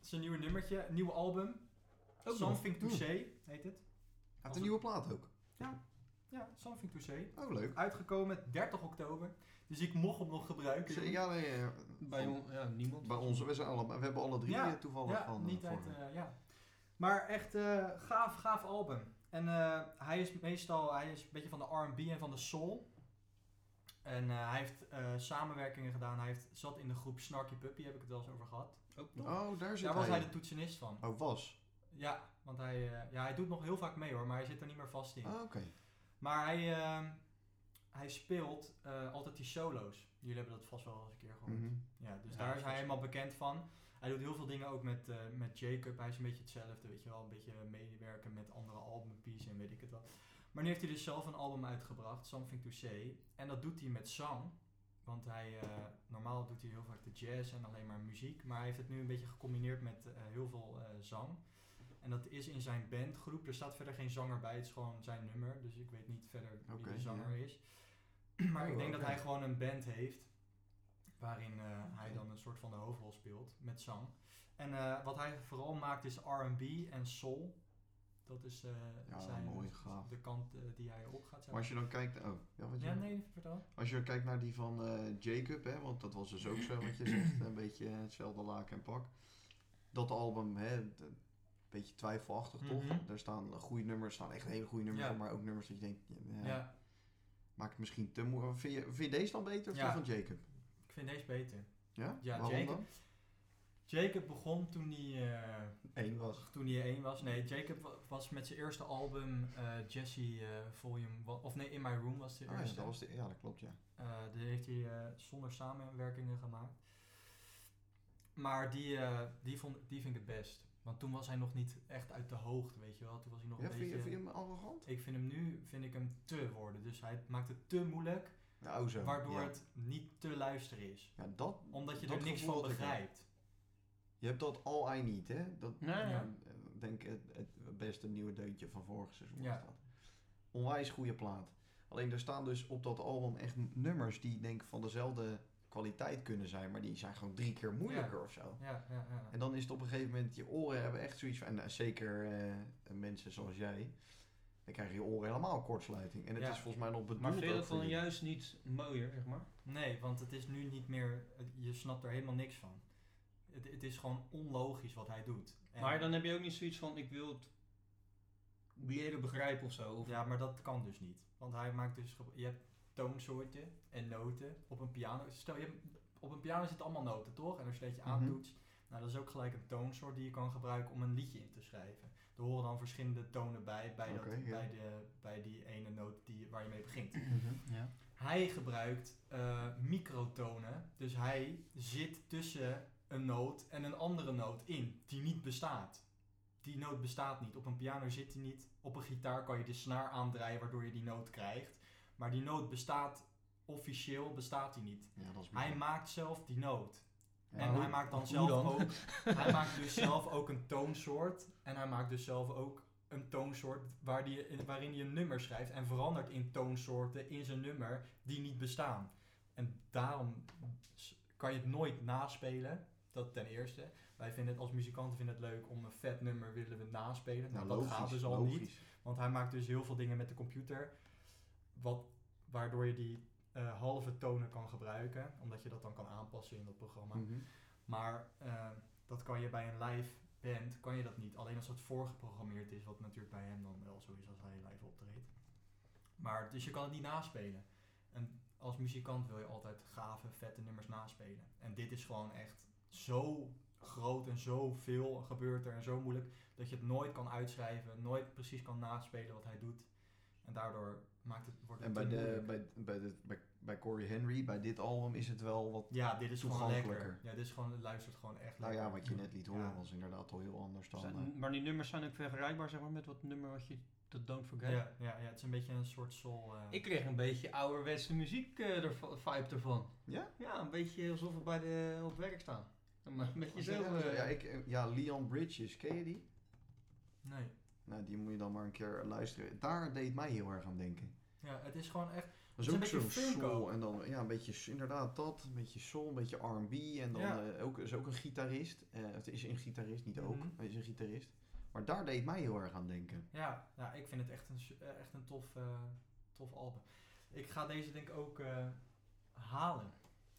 S1: zijn nieuwe nummertje, een nieuw album.
S3: nog.
S1: Something to
S2: Hmm.
S1: Say, heet het.
S2: Hij heeft een nieuwe plaat ook.
S1: Ja, Something to Say.
S2: Oh, leuk.
S1: uitgekomen 30 oktober. Dus ik mocht hem nog gebruiken.
S2: Zeker, Ja, nee, eh,
S3: Bij on- ja, niemand.
S2: Bij onze, we, zijn allemaal, we hebben alle drie
S1: Ja,
S2: eh, toevallig
S1: ja,
S2: van. eh,
S1: niet uit,
S2: vorige-
S1: eh, ja. Maar echt eh, gaaf, gaaf album. En eh, hij is meestal, hij is een beetje van de R&B en van de soul. En eh, hij heeft eh, samenwerkingen gedaan. Hij heeft, zat in de groep Snarky Puppy, heb ik het wel eens over gehad.
S3: Ook nog.
S2: oh, daar zit
S1: Daar was
S2: hij.
S1: hij de toetsenist van.
S2: Oh, was.
S1: Ja, want hij, eh, ja, hij doet nog heel vaak mee hoor, maar hij zit er niet meer vast in.
S2: Ah, Oké.
S1: Maar hij, ehm, hij speelt eh, altijd die solo's. Jullie hebben dat vast wel eens een keer gehoord.
S2: Mhm.
S1: Ja, dus
S3: Ja,
S1: daar is hij
S3: vast.
S1: helemaal bekend van. Hij doet heel veel dingen ook met, eh, met Jacob. Hij is een beetje hetzelfde, weet je wel. Een beetje meewerken met andere albumpies en weet ik het wat. Maar nu heeft hij dus zelf een album uitgebracht, Something to Say. En dat doet hij met zang. Want hij, eh, normaal doet hij heel vaak de jazz en alleen maar muziek. Maar hij heeft het nu een beetje gecombineerd met eh, heel veel eh, zang. En dat is in zijn bandgroep. Er staat verder geen zanger bij. Het is gewoon zijn nummer. Dus ik weet niet verder wie
S2: Oké,
S1: de
S2: ja.
S1: zanger is. [CLEARS THROAT] Maar
S2: Oh,
S1: ik denk dat
S2: oké.
S1: hij gewoon een band heeft. Waarin eh, hij dan een soort van de hoofdrol speelt met zang. En eh, wat hij vooral maakt is R&B en soul. Dat is eh,
S2: Ja,
S1: zijn,
S2: mooi, gaaf.
S1: de kant eh, die hij op gaat. zeg
S2: Maar als je dan kijkt... Oh, ja, wat
S1: maar.
S2: je-
S1: Ja, nee, vertel.
S2: Als je dan kijkt naar die van eh, Jacob, hè, want dat was dus ook zo wat je
S1: [CLEARS THROAT]
S2: zegt, een beetje hetzelfde laak en pak. Dat album, hè, d- een beetje twijfelachtig
S1: Mhm.
S2: toch? Daar staan goede nummers, staan echt hele goede nummers,
S1: Ja.
S2: op, maar ook nummers dat je denkt, ja,
S1: ja.
S2: maakt het misschien te moeilijk. Vind je, vind je deze dan beter of
S1: Ja.
S2: die van Jacob?
S1: Ik vind deze beter.
S2: Ja,
S1: Ja,
S2: Waarom
S1: Jacob. Jacob begon toen hij, eh
S2: dan? Eén was.
S1: toen hij één was. Nee, Jacob wa- was met zijn eerste album eh Jesse eh, Volume... wa- Of nee, In My Room was de
S2: Ah, ja,
S1: eerste.
S2: dat was de, ja, dat klopt, ja.
S1: Eh, die heeft hij eh, zonder samenwerkingen gemaakt. Maar die, eh, die, vond, die vind ik het best. Want toen was hij nog niet echt uit de hoogte, weet je wel. Toen was hij nog
S2: ja
S1: een
S2: vind, je,
S1: beetje...
S2: vind je hem arrogant?
S1: Ik vind hem nu, vind ik hem te worden. Dus hij maakt het te moeilijk,
S2: Nou, zo.
S1: waardoor
S2: ja.
S1: het niet te luisteren is.
S2: Ja, dat,
S1: Omdat je
S2: dat
S1: er niks
S2: gevoel
S1: van
S2: had ik wel.
S1: begrijpt.
S2: Je hebt dat all I need, hè? Dat,
S3: Nee,
S1: ja.
S2: ja, ik denk het, het beste nieuwe deuntje van vorig seizoen.
S1: Ja.
S2: was dat. Onwijs goede plaat. Alleen er staan dus op dat album echt n- nummers die denk ik van dezelfde kwaliteit kunnen zijn, maar die zijn gewoon drie keer moeilijker of zo.
S1: Ja, ja, ja.
S2: En dan is het op een gegeven moment, je oren hebben echt zoiets van, en eh, zeker eh, mensen zoals jij, dan krijg je oren helemaal kortsluiting. En het
S1: Ja.
S2: is volgens mij nog bedoeld
S3: Maar vind je
S2: ook
S3: dat
S2: voor
S3: dan
S2: je-
S3: juist niet mooier, zeg maar?
S1: Nee, want het is nu niet meer... Je snapt er helemaal niks van. Het, het is gewoon onlogisch wat hij doet. En-
S3: Maar dan heb je ook niet zoiets van, ik wil het leren begrijpen of zo. Of
S1: Ja, maar dat kan dus niet. Want hij maakt dus... ge- Je hebt toonsoorten en noten op een piano. Stel, je hebt- op een piano zitten allemaal noten, toch? En als je dat je
S2: Mhm.
S1: aantoetst... Nou, dat is ook gelijk een toonsoort die je kan gebruiken om een liedje in te schrijven. Er horen dan verschillende tonen bij, bij, dat,
S2: Oké, ja.
S1: bij, de, bij die ene noot die, waar je mee begint.
S2: Mhm.
S3: Ja.
S1: Hij gebruikt eh, microtonen. Dus hij zit tussen een noot en een andere noot in, die niet bestaat. Die noot bestaat niet. Op een piano zit die niet. Op een gitaar kan je de snaar aandrijven waardoor je die noot krijgt. Maar die noot bestaat, officieel bestaat die niet.
S2: Ja, dat is
S1: Hij
S2: bizar.
S1: maakt zelf die noot.
S2: Ja,
S1: en
S2: hoe-
S1: hij maakt dan
S3: hoe
S1: zelf
S3: dan?
S1: ook... hij maakt dus zelf ook een toonsoort. En hij maakt dus zelf ook een toonsoort waar die, waarin hij een nummer schrijft. En verandert in toonsoorten in zijn nummer die niet bestaan. En daarom s- kan je het nooit naspelen. Dat ten eerste. Wij vinden het als muzikanten vinden het leuk om een vet nummer willen we naspelen. Nou,
S2: Ja,
S1: dat
S2: logisch,
S1: gaat dus al niet.
S2: logisch.
S1: Want hij maakt dus heel veel dingen met de computer. Wat, waardoor je die eh, halve tonen kan gebruiken. Omdat je dat dan kan aanpassen in dat programma.
S2: Mhm.
S1: Maar eh, dat kan je bij een live band kan je dat niet. Alleen als dat voorgeprogrammeerd is. Wat natuurlijk bij hem dan wel zo is als hij live optreedt. Maar dus je kan het niet naspelen. En als muzikant wil je altijd gave, vette nummers naspelen. En dit is gewoon echt zo groot en zoveel gebeurt er en zo moeilijk dat je het nooit kan uitschrijven, nooit precies kan naspelen wat hij doet. En daardoor maakt het, wordt het
S2: En bij,
S1: te
S2: de,
S1: moeilijk.
S2: bij, bij, de, bij, bij Corey Henry, bij dit album, is het wel wat...
S1: ja, dit is gewoon lekker.
S2: toegankelijker.
S1: Ja, dit is gewoon, het luistert gewoon echt
S2: Nou
S1: lekker.
S2: ja, wat je net liet horen
S1: Ja.
S2: was inderdaad al heel anders dan... eh,
S3: Zijn- maar die nummers zijn ook vergelijkbaar, zeg maar, met wat nummer wat je, dat Don't Forget.
S1: Ja, ja, ja, het is een beetje een soort soul. eh,
S3: Ik kreeg een beetje ouderwetse muziek eh, er, vibe ervan.
S2: Ja?
S3: Ja, een beetje alsof we bij de, op werk staan. Maar een beetje
S2: wat
S3: zo.
S2: zeg jij?
S3: eh,
S2: ja, ik, eh, ja, Leon Bridges, ken je die?
S1: Nee.
S2: Nou, die moet je dan maar een keer luisteren. Daar deed mij heel erg aan denken.
S1: Ja, het is gewoon echt.
S2: Dat
S1: Het is
S2: is
S1: een
S2: ook zo'n
S1: beetje funk ook.
S2: soul. En dan, ja, een beetje, s- inderdaad dat. Een beetje soul, een beetje R&B. En dan
S1: Ja.
S2: eh, ook, is ook een gitarist. Eh, het is een gitarist, niet ook.
S1: Mhm.
S2: Hij is een gitarist. Maar daar deed mij heel erg aan denken.
S1: Ja, ja ik vind het echt een, su- eh, echt een tof, eh, tof album. Ik ga deze denk ik ook eh, halen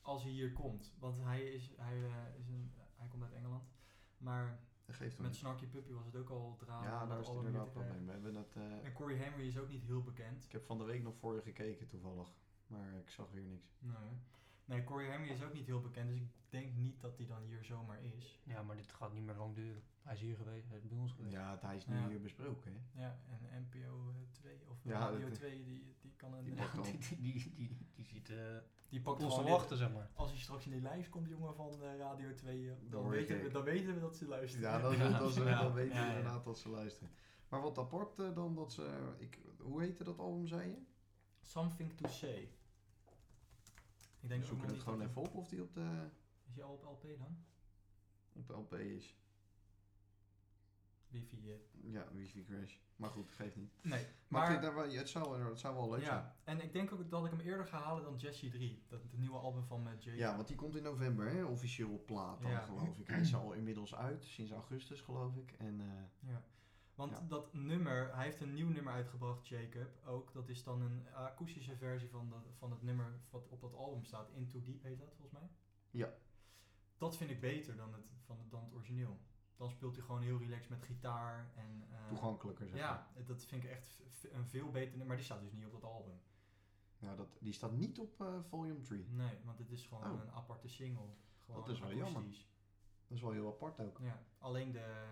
S1: als hij hier komt. Want hij, is, hij, eh, is een, hij komt uit Engeland. Maar
S2: Dat geeft hem
S1: met
S2: niet.
S1: Snarky Puppy was het ook al drama.
S2: Ja,
S1: om dat
S2: daar is het
S1: album
S2: inderdaad
S1: hier te
S2: een
S1: krijgen.
S2: probleem. We hebben dat... eh,
S1: En Corey Henry is ook niet heel bekend.
S2: Ik heb van de week nog voor je gekeken toevallig. Maar ik zag weer niks.
S1: Nee. Nee, Corey Henry is ook niet heel bekend, dus ik denk niet dat hij dan hier zomaar is.
S3: Ja, maar dit gaat niet meer lang duren. Hij is hier geweest, hij is bij ons geweest.
S2: Ja, het- hij is nu
S1: Ja.
S2: hier besproken. Hè?
S1: Ja, en NPO 2 of
S2: Ja,
S1: Radio
S2: dat-
S1: 2, die, die kan een...
S2: die
S1: Die,
S2: pakt- dan.
S3: [LAUGHS] die, die, die, die, die zit eh
S1: pakt
S3: ons te
S1: gewoon
S3: wachten, zeg maar.
S1: Als hij straks in die lijst komt, jongen van eh, Radio 2, eh, dan,
S2: hoor je
S1: weten
S2: het,
S1: we,
S2: eh.
S1: dan weten we dat ze luisteren.
S2: [LAUGHS] Ja, dan,
S3: Ja.
S1: [LAUGHS]
S2: dan, ze-
S3: Ja.
S2: dan weten
S3: Ja,
S2: we
S3: ja.
S2: inderdaad dat ze luisteren. Maar wat apart eh, dan dat ze... Ik, hoe heette dat album, zei je?
S1: Something to Say. Ik
S2: We
S1: denk ook
S2: zoeken
S1: nog
S2: het
S1: niet
S2: gewoon
S1: dat-
S2: even op of die op de,
S1: Is hij al op LP dan?
S2: op de LP is.
S1: Wifi. eh.
S2: Ja, wifi crash. Maar goed, geeft niet.
S1: Nee,
S2: Maar, ik
S1: maar...
S2: vind daar wel, het, zou, wel- het zou wel leuk zijn.
S1: ja, en ik denk ook dat ik hem eerder ga halen dan Jesse 3. Dat het nieuwe album van eh Jay.
S2: Ja, want die komt in november, hè? officieel op plaat dan,
S1: Ja.
S2: geloof ik. Hij is al inmiddels uit, sinds augustus geloof ik. En eh,
S1: Ja. Want
S2: Ja.
S1: dat nummer, hij heeft een nieuw nummer uitgebracht, Jacob. Ook dat is dan een akoestische versie van, dat, van het nummer wat op dat album staat. Into Deep heet dat volgens mij.
S2: Ja.
S1: Dat vind ik beter dan het, van, dan het origineel. Dan speelt hij gewoon heel relaxed met gitaar. En, eh,
S2: toegankelijker zeg maar.
S1: Ja, dat vind ik echt v- een veel beter nummer. Maar die staat dus niet op dat album.
S2: Ja, dat, die staat niet op eh, volume 3.
S1: Nee, want het is gewoon
S2: Oh.
S1: een aparte single. Gewoon
S2: is wel jammer.
S1: akoestisch.
S2: Dat is wel heel apart ook.
S1: Ja, alleen de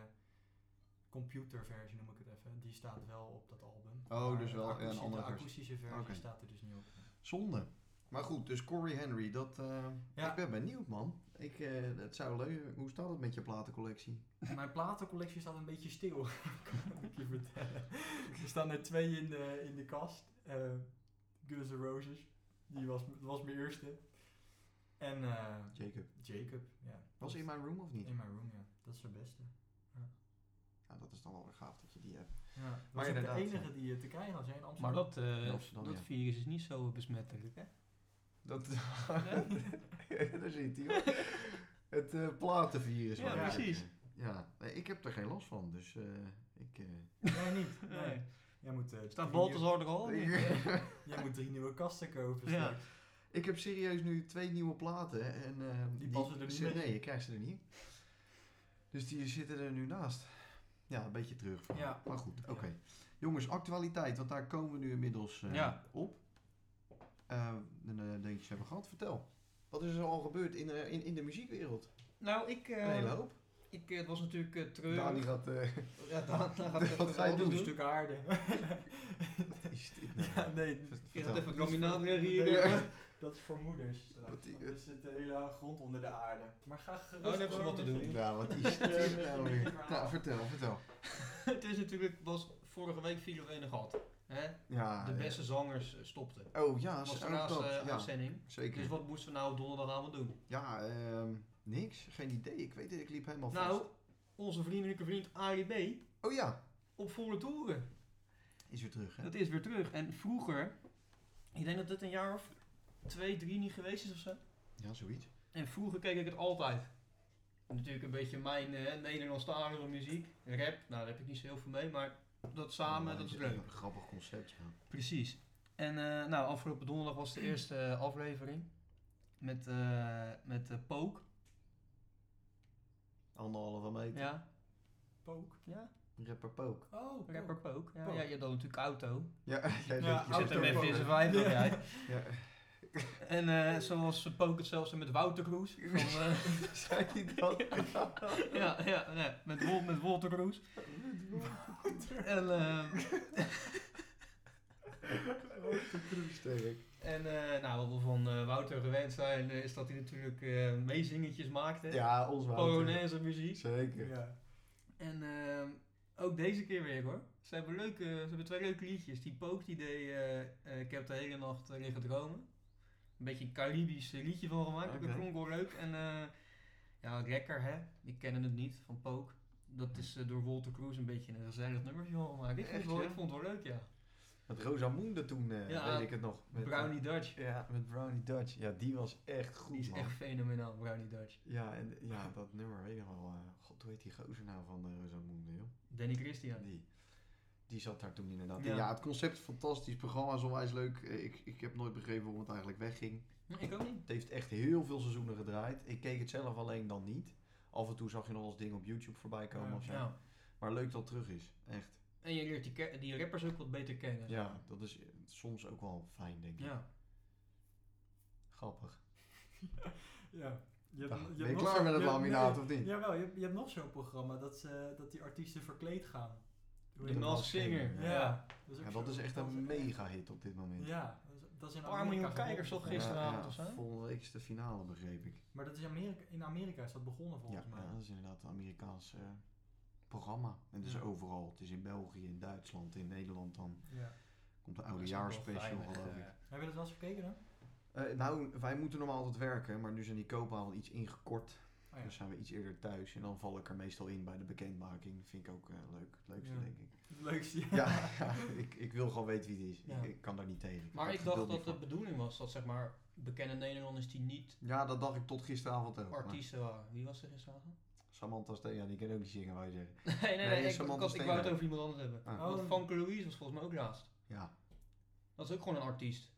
S1: computerversie noem ik het even, die staat wel op dat album.
S2: Oh,
S1: Maar
S2: dus wel
S1: de
S2: een
S1: akoestische-
S2: andere
S1: De
S2: versie.
S1: akoestische versie
S2: Oké.
S1: staat er dus niet op. [LAUGHS]
S2: Zonde. Maar goed, dus Corey Henry, dat, eh,
S1: Ja.
S2: ik ben benieuwd man. Ik, eh, het zou leuk, hoe staat het met je platencollectie?
S1: Mijn platencollectie staat een beetje stil, [LAUGHS] kan ik je vertellen. Er staan er twee in de, in de kast. Eh Guns N' Roses, die was, dat was mijn eerste. En eh,
S2: Jacob,
S1: Jacob, ja.
S2: was in mijn room of niet?
S1: In My Room, ja. Dat is de beste.
S2: Ja, dat is dan wel weer gaaf dat je die hebt.
S1: Ja, dat
S2: Maar
S1: was ook de
S2: inderdaad,
S1: enige die je te krijgen had, jij in Amsterdam.
S3: Maar dat, eh,
S2: In Amsterdam,
S3: dat
S2: ja.
S3: virus is niet zo besmettelijk, hè?
S2: Dat, [LAUGHS] daar zit hij hoor. Het eh, platenvirus.
S3: Ja,
S2: wou ik
S3: precies.
S2: zeggen. Ja, nee, ik heb er geen last van, dus eh, ik... eh,
S1: [LAUGHS] Nee, niet. Nee. Jij moet, eh,
S3: Staat
S1: drie nieuwe-
S3: Balthazar er al?
S2: [LAUGHS]
S1: Jij moet drie nieuwe kasten kopen
S3: Ja.
S1: straks.
S2: ik heb serieus nu twee nieuwe platen en... eh,
S1: passen er niet
S2: zit-
S1: in.
S2: Nee, ik krijg ze er niet in. Dus die zitten er nu naast. Ja, een beetje terug.
S1: Ja.
S2: Maar goed, oké.
S1: Ja.
S2: Jongens, actualiteit, want daar komen we nu inmiddels eh,
S3: Ja.
S2: op. Eh en eh dingetje hebben we gehad. Vertel, wat is er al gebeurd in, eh, in, in de muziekwereld?
S3: Nou, ik... eh,
S2: Een hele hoop.
S3: ik eh, het was natuurlijk eh, treurig.
S2: Dani gaat... eh,
S3: [LAUGHS]
S2: [LAUGHS]
S3: Ja, Daan, Daan gaat even
S2: Wat ga je
S3: alles
S2: doen?
S1: Een stuk
S2: [LAUGHS]
S1: aarde.
S2: Wat is dit nou?
S1: ja, nee.
S3: Je
S2: Vertel.
S3: gaat even laminaat hier.
S1: Nee,
S3: eh.
S1: Dat is voor moeders.
S2: Wat die- Oh,
S1: Er zit de hele grond onder de aarde. Maar ga gerust
S3: dan hebben ze
S1: door
S3: wat te
S1: met
S3: doen.
S1: je-
S2: Ja, wat is dit nou weer?
S1: Ja.
S2: Nou, vertel, vertel.
S3: het is natuurlijk, was vorige week vier op ene gehad. Hè?
S2: Ja,
S3: De
S2: eh,
S3: beste zangers eh, stopten.
S2: Oh ja,
S3: Dat was de
S2: ook
S3: laatste
S2: dat,
S3: eh,
S2: ja,
S3: uitzending.
S2: zeker.
S3: Dus wat moesten we nou donderdagavond doen?
S2: Ja, ehm, niks. Geen idee. Ik weet het, ik liep helemaal vast.
S3: Nou, onze vriendelijke vriend Arie B.
S2: Oh ja,
S3: op volle toeren.
S2: is weer terug, hè?
S3: Dat is weer terug. En vroeger, ik denk dat dit een jaar of twee, drie niet geweest is of zo.
S2: Ja, zoiets.
S3: En vroeger keek ik het altijd. Natuurlijk een beetje mijn eh, Nederlandstalige muziek. Rap, nou daar heb ik niet zo heel veel mee, maar dat samen,
S2: Ja,
S3: dat is
S2: dit
S3: leuk.
S2: Een grappig concept, ja.
S3: Precies. En eh, nou, afgelopen donderdag was de eerste eh, aflevering. Met, eh met eh, Pook.
S2: Anderhalve meter.
S3: Ja.
S1: Pook.
S3: ja,
S2: Rapper Pook.
S1: Oh,
S3: rapper Pook. Ja,
S1: Pook.
S3: ja, je had dan natuurlijk Auto.
S2: [LAUGHS] Ja, jij
S1: Ja,
S2: zegt, je
S1: Auto
S3: Zit
S2: zegt
S3: hem
S2: ook
S3: even in
S2: wel,
S3: zijn
S2: hè?
S3: vijf,
S1: Ja.
S3: jij.
S2: Ja.
S3: En eh, zoals Pook het zelfs met Wouter [LAUGHS] Kroes. Van, eh,
S2: Zei hij dat?
S3: ja, ja, nee, met, Wol- met Walter Kroes. En, eh,
S2: Sterk.
S3: en eh, nou, wat we van eh, Wouter gewend zijn, eh, is dat hij natuurlijk eh, meezingetjes maakte.
S2: Ja, ons
S3: Oh,
S2: water.
S3: Polonaise muziek.
S2: Zeker.
S1: Ja.
S3: En ehm, ook deze keer weer hoor. Ze hebben, leuke, ze hebben twee leuke liedjes. Die Pook die deed, eh, eh, ik heb de hele nacht eh, liggen dromen. Een beetje een Caribisch eh, liedje van gemaakt.
S2: Oké.
S3: Dat klonk wel leuk. En eh, ja, Rekker hè. Die kennen het niet van Pook. Dat is eh, door Walter Cruz een beetje een gezellig nummertje van gemaakt. Ik vond, het
S2: Echt,
S3: wel,
S2: ja?
S3: ik vond het wel leuk ja.
S2: Met Rosamunde toen, eh,
S3: Ja,
S2: weet ik het nog. Met, eh,
S3: Brownie Dutch.
S2: Ja, met Brownie Dutch. Ja, die was echt goed,
S3: Die is
S2: man.
S3: echt fenomenaal, Brownie Dutch.
S2: Ja, en ja, dat nummer weet ik nog wel. eh, God, hoe heet die gozer nou van uh, Rosamunde, joh?
S3: Danny Christian.
S2: Die, die zat daar toen inderdaad. in.
S3: Ja.
S2: Ja, het concept is fantastisch. programma is onwijs leuk. Eh, Ik, ik heb nooit begrepen waarom het eigenlijk wegging.
S3: Hm, Ik ook niet.
S2: Het heeft echt heel veel seizoenen gedraaid. Ik keek het zelf alleen dan niet. Af en toe zag je nog als ding op YouTube voorbij komen
S1: Ja.
S2: of zo.
S3: Ja.
S2: Maar leuk dat het terug is. Echt.
S3: Nou, En je leert die, ke- die rappers ook wat beter kennen.
S2: Ja, dat is eh, soms ook wel fijn, denk ik.
S3: Ja.
S2: Grappig.
S1: ja. Je hebt,
S2: Nou,
S1: je hebt
S2: ben je
S1: nog
S2: klaar
S1: zo'n-
S2: met het
S1: je hebt-
S2: laminaat
S1: nee,
S2: of niet?
S1: Jawel, je hebt, je hebt nog zo'n programma dat, ze, dat die artiesten verkleed gaan. Hoe
S3: De
S1: heet dat?
S3: Masked Singer.
S1: Ja, dat is, ook
S2: Ja,
S1: zo-
S2: dat is echt
S1: dat
S2: een mega hit op dit moment.
S1: Ja, dat is- dat is in
S3: Paar
S1: Amerika
S3: miljoen
S1: gewonnen.
S3: kijkers toch
S1: Ja.
S3: gisteren? gisteravond of zo?
S2: Volgende week is de finale, begreep ik.
S1: Maar dat is in Amerika, in Amerika is dat begonnen
S2: Ja,
S1: volgens mij.
S2: ja, dat is inderdaad een Amerikaans eh, programma. En dat is
S1: Ja.
S2: overal. Het is in België, in Duitsland, in Nederland dan.
S1: Ja.
S2: Komt de
S3: Dat is
S2: oudejaarspecial
S3: ook wel fijn
S2: geloof
S3: met,
S2: ik.
S3: eh,
S1: Heb je dat wel eens gekeken dan?
S2: Eh, nou, wij moeten normaal altijd werken, maar nu zijn die koopavonden iets ingekort.
S1: Oh, ja. [LAUGHS]
S2: Dus zijn we iets eerder thuis en dan val ik er meestal in bij de bekendmaking. Vind ik ook eh, leuk. Het leukste,
S1: Ja.
S2: denk ik.
S1: Het leukste.
S2: Ja, [LAUGHS] ja ik, ik wil gewoon weten wie het is.
S1: Ja.
S2: Ik, ik kan daar niet tegen.
S3: Maar
S2: heb
S3: ik
S2: daar
S3: dacht
S2: geduld
S3: dat de
S2: niet
S3: bedoeling was dat zeg maar bekende Nederlanders die niet
S2: voor. Ja, dat dacht ik tot gisteravond ook. maar
S3: artiesten waren. Wie was er gisteravond?
S2: Samantha Steen, die kan ook niet zingen, wij zeggen.
S3: Nee, [LAUGHS] nee, nee,
S2: Nee,
S3: ik, ik,
S2: Samantha
S3: had- ik wou het
S2: Steenwijk.
S3: over iemand anders hebben.
S2: Ah.
S1: Oh.
S3: Want Frank Louise was volgens mij ook laatst.
S2: Ja,
S3: Dat is ook gewoon een artiest.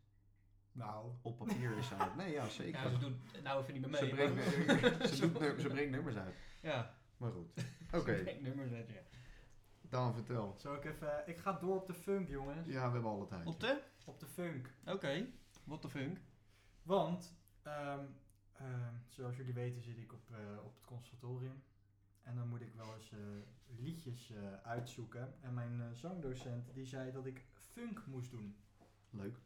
S1: Nou.
S2: op papier is zij het. Nee, ja, zeker.
S3: Ja, ze doet, nou even niet meer
S2: ze,
S3: mee.
S2: brengt, [LAUGHS]
S3: maar-
S2: ze, doet num- ze brengt nummers uit.
S3: ja,
S2: Maar goed. Oké,
S3: ze brengt nummers uit, ja.
S2: dan vertel.
S1: Zal ik even... eh, Ik ga door op de funk, jongens.
S2: Ja, we hebben alle tijd.
S3: Op de?
S1: Op de funk.
S3: Oké, what the funk.
S1: Want, ehm, ehm, zoals jullie weten zit ik op, eh, op het conservatorium. En dan moet ik wel eens eh, liedjes eh, uitzoeken. En mijn eh, zangdocent die zei dat ik funk moest doen.
S2: Leuk.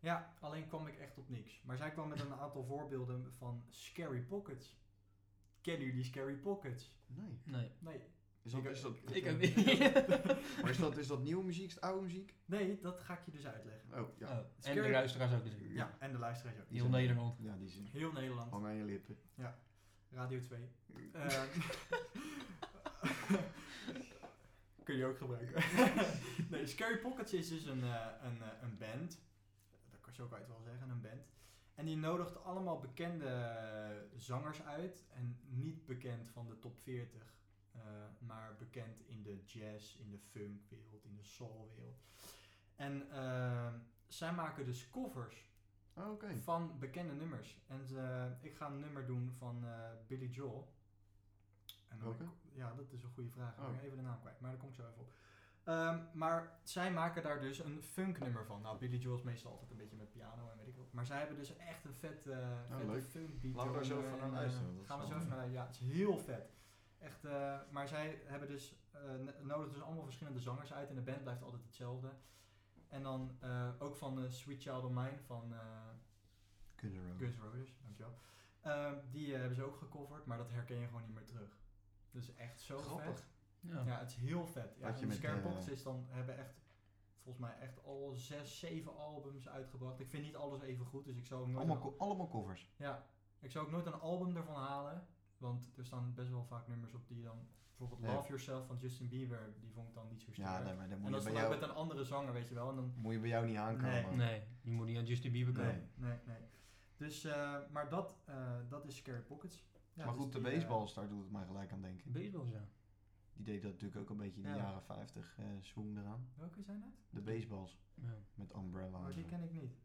S1: Ja, alleen kwam ik echt op niks. Maar zij kwam met een aantal voorbeelden van Scary Pockets. Kennen jullie Scary Pockets?
S2: Nee.
S3: Nee,
S1: Nee.
S2: Is dat,
S1: Ik-
S2: is dat,
S3: ik
S2: [LAUGHS]
S3: ook niet. Oh,
S2: maar is dat, is dat nieuwe muziek, is het oude muziek?
S1: Nee, dat ga ik je dus uitleggen.
S2: Oh, ja.
S3: Oh, en de
S1: Scary-
S3: luisteraars ook natuurlijk.
S1: Ja, en de luisteraars ook.
S2: Die
S3: Heel
S2: zijn-
S3: Nederland. Oh.
S2: Ja, die zin.
S1: Heel Nederland.
S2: Hang aan je lippen.
S1: Radio 2.
S3: [LAUGHS]
S1: Eh, [LAUGHS] Kun je ook gebruiken. [LAUGHS] nee, Scary Pockets is dus een, eh, een, eh, een band. Dat kan zo kan je het wel zeggen, een band. En die nodigt allemaal bekende eh, zangers uit. En niet bekend van de top 40. eh, maar bekend in de jazz, in de funkwereld, in de soulwereld. En eh, zij maken dus covers
S2: Oh, oké.
S1: van bekende nummers. En eh, ik ga een nummer doen van eh, Billy Joel. En dan
S2: Welke?
S1: ja, dat is een goede vraag. Ik
S2: Oh.
S1: ben even de naam kwijt, maar daar kom ik zo even op. Ehm, maar zij maken daar dus een funknummer van. Nou, Billy Joel is meestal altijd een beetje met piano en weet ik wat. Maar zij hebben dus echt een vet, eh vette
S2: Oh, leuk.
S1: funkbeat.
S2: Laten we daar zo
S1: eronder
S2: even
S1: en,
S2: naar
S1: eh,
S2: luisteren, dat
S1: gaan we
S2: is
S1: zo
S2: wel
S1: even naar luisteren. Ja, het is heel vet. Echt, eh, maar zij hebben dus, eh, n- nodig dus allemaal verschillende zangers uit. En de band blijft altijd hetzelfde. En dan eh, ook van eh, Sweet Child of Mine van... eh,
S2: Guns N' Roses.
S1: Guns N' Roses, dankjewel. Ehm, die eh, hebben ze ook gecoverd, maar dat herken je gewoon niet meer terug. Dus echt zo
S2: Grappig.
S1: vet.
S3: Ja.
S1: Ja, het is heel vet. Ja,
S2: Had je
S1: en
S2: met,
S1: Scare
S2: eh,
S1: Pockets is dan hebben echt volgens mij echt al zes, zeven albums uitgebracht. Ik vind niet alles even goed, dus ik zou ook nooit,
S2: Allemaal,
S1: een,
S2: co- allemaal covers.
S1: ja, ik zou ook nooit een album ervan halen, want er staan best wel vaak nummers op die dan bijvoorbeeld
S2: Ja.
S1: Love Yourself van Justin Bieber, die vond ik dan niet zo sterk.
S2: Ja, nee, maar dan
S1: en
S2: moet
S1: dat
S2: je,
S1: is
S2: bij
S1: dan ook
S2: jou,
S1: met een andere zanger, weet je wel? En dan
S2: moet je bij jou niet aankomen.
S1: Nee.
S3: Nee, je moet niet aan Justin Bieber komen.
S2: Nee.
S1: Nee, nee. Dus, eh, maar dat, eh, dat is Scary Pockets. Ja,
S2: maar
S1: dus
S2: goed, de
S1: die, eh,
S2: baseballstar doet het mij gelijk aan denken.
S3: Baseball, ja.
S2: Die deed dat natuurlijk ook een beetje in de
S1: Ja.
S2: jaren 50 eh swing eraan.
S1: welke zijn dat?
S2: De baseballs
S3: ja.
S2: met Umbrella.
S1: Maar
S2: en
S1: Oh, die
S2: zo.
S1: ken ik niet.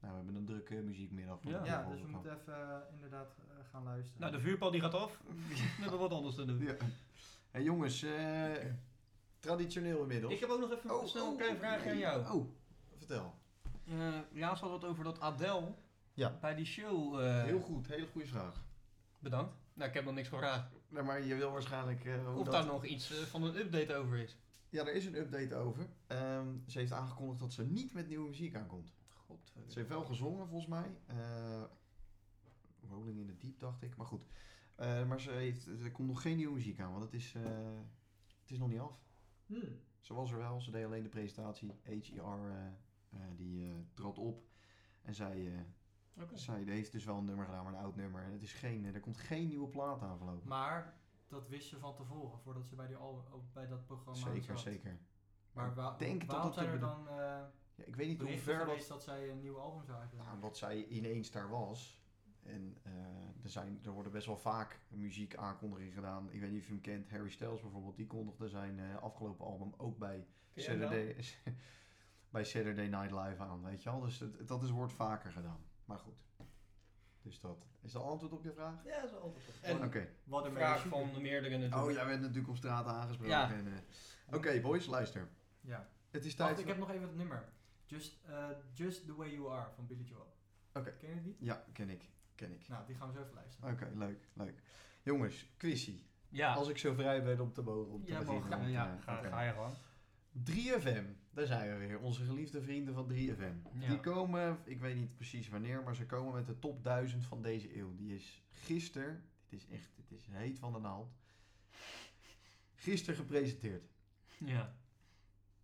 S2: Nou, we hebben een drukke muziekmiddag.
S3: Ja.
S1: Ja,
S2: de
S1: dus we
S2: baseball.
S1: moeten even eh, inderdaad eh, gaan luisteren.
S3: Nou, de vuurpal die gaat
S2: [LAUGHS]
S3: af. We hebben wat anders te doen.
S2: Ja. Hey, jongens, eh, traditioneel inmiddels.
S3: Ik heb ook nog even snel een klein vraagje aan jou.
S2: Oh, vertel.
S3: Eh, laatst hadden we het over dat Adele
S2: Ja.
S3: bij die show. eh,
S2: Heel goed, hele goede vraag.
S3: Bedankt. Nou, ik heb nog niks gevraagd.
S2: Nou, maar je wil waarschijnlijk... eh, hoe
S3: Of
S2: dat-
S3: daar nog iets eh, van een update over is.
S2: Ja, er is een update over. Ehm, ze heeft aangekondigd dat ze niet met nieuwe muziek aankomt.
S3: God.
S2: Ze heeft wel gezongen, volgens mij. Eh, Rolling in the Deep, dacht ik. Maar goed. Eh, maar ze heeft, er komt nog geen nieuwe muziek aan, want het is, eh, het is nog niet af.
S1: Hmm.
S2: Ze was er wel, ze deed alleen de presentatie. HR eh, eh, die eh, trad op. En zij, eh, zij heeft dus wel een nummer gedaan, maar een oud nummer. En het is geen, eh, er komt geen nieuwe plaat aan voorlopig.
S1: Maar dat wist ze van tevoren, voordat ze bij, die al, ook bij dat programma
S2: Zeker,
S1: zat.
S2: zeker.
S1: Maar wa-
S2: denk dat
S1: waarom
S2: dat de
S1: zijn er
S2: bedoel-
S1: dan eh
S2: Ja, ik weet niet hoe
S1: berichten
S2: ver dat...
S1: geweest dat zij een nieuw album zou
S2: Nou,
S1: uitbrengen?
S2: omdat zij ineens daar was. En eh, er, zijn, er worden best wel vaak muziekaankondigingen gedaan. Ik weet niet of je hem kent, Harry Styles bijvoorbeeld. Die kondigde zijn eh, afgelopen album ook bij Saturday, [LAUGHS] bij Saturday Night Live aan. Weet je wel? Dus dat, dat is, wordt vaker gedaan. Maar goed. Dus dat. Is dat antwoord op je vraag?
S3: Ja, dat is altijd goed.
S1: En-
S2: Oké.
S1: Wat
S3: een
S1: een
S3: vraag
S1: merk.
S3: van meerdere natuurlijk.
S2: Oh, jij werd natuurlijk op straat aangesproken.
S3: Ja.
S2: en, eh, Oké, boys, luister.
S1: Ja.
S2: Het is tijd.
S1: Wacht, ik heb nog even het nummer. Just, eh, Just the Way You Are van Billy Joel.
S2: Oké.
S1: Ken je die?
S2: Ja, ken ik. ken ik.
S1: Nou, die gaan we zo even luisteren.
S2: Oké, leuk, leuk. Jongens, quizje.
S3: Ja,
S2: Als ik zo vrij ben om te, bo- om te
S3: ja,
S2: beginnen.
S3: mag, ja,
S2: want,
S3: ja,
S2: eh,
S3: ga,
S2: oké.
S3: ga je gewoon.
S2: 3FM, daar zijn we weer. Onze geliefde vrienden van 3FM.
S3: Ja.
S2: Die komen, ik weet niet precies wanneer, maar ze komen met de top 1000 van deze eeuw. Die is gisteren, dit is echt, dit is heet van de naald, gisteren gepresenteerd.
S3: Ja,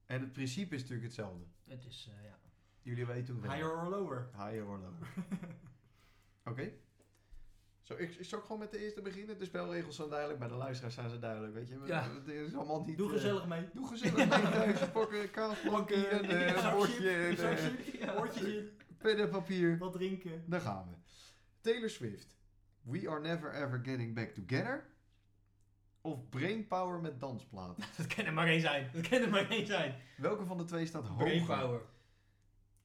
S2: En het principe is natuurlijk hetzelfde.
S3: het is, eh, ja. [LAUGHS]
S2: Jullie weten hoe het
S1: Higher or lower?
S2: werkt. Higher
S1: [LAUGHS]
S2: or lower. Oké. Zo, ik, ik zou gewoon met de eerste beginnen. De spelregels zijn duidelijk, bij de luisteraars zijn ze duidelijk, weet je. We-
S3: Ja.
S2: Het is allemaal [LAUGHS] niet...
S1: Doe
S2: eh,
S1: gezellig mee.
S2: Doe gezellig mee thuis.
S1: [LAUGHS]
S2: Pakken kaasplankje en
S1: Zakje,
S2: eh, bordje en eh,
S1: zakje, Hoortjes in,
S2: pen en papier.
S1: wat drinken.
S2: Daar gaan we. Taylor Swift. We are never ever getting back together. Of Brainpower met dansplaten.
S3: Dat kan er maar één zijn. Dat kan er maar één zijn.
S2: Welke van de twee staat hoger?
S3: Brainpower.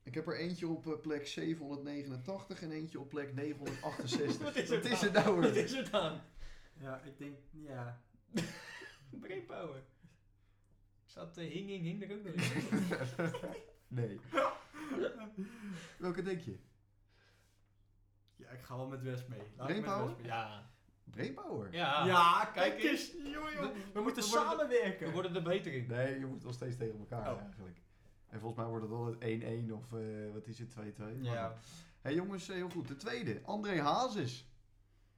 S2: Ik heb er eentje op eh, plek 789 en eentje op plek 968.
S3: [LAUGHS] Wat is er
S2: Wat is er
S3: nou?
S2: nou
S3: Wat
S2: weer?
S3: is er dan?
S1: Ja, ik denk, ja.
S3: Brainpower. Zat de hing hing hing er ook nog in?
S2: [LAUGHS] Nee. Welke denk je?
S1: Ja, ik ga wel met Wes mee. Laat ik met
S2: Brainpower?
S1: Wes mee.
S3: Ja.
S2: Brainpower?
S3: Ja.
S1: Ja,
S3: Kijk
S1: kijk eens. Joh, joh. We moeten
S3: We worden-
S1: samenwerken.
S3: We worden er beter in.
S2: Nee, je moet nog steeds tegen elkaar
S1: Oh.
S2: eigenlijk. En volgens mij wordt het altijd 1-1 of eh, wat is het, 2-2. Maar
S1: Ja.
S2: goed. Hé hey, jongens, eh, heel goed. De tweede, André Hazes.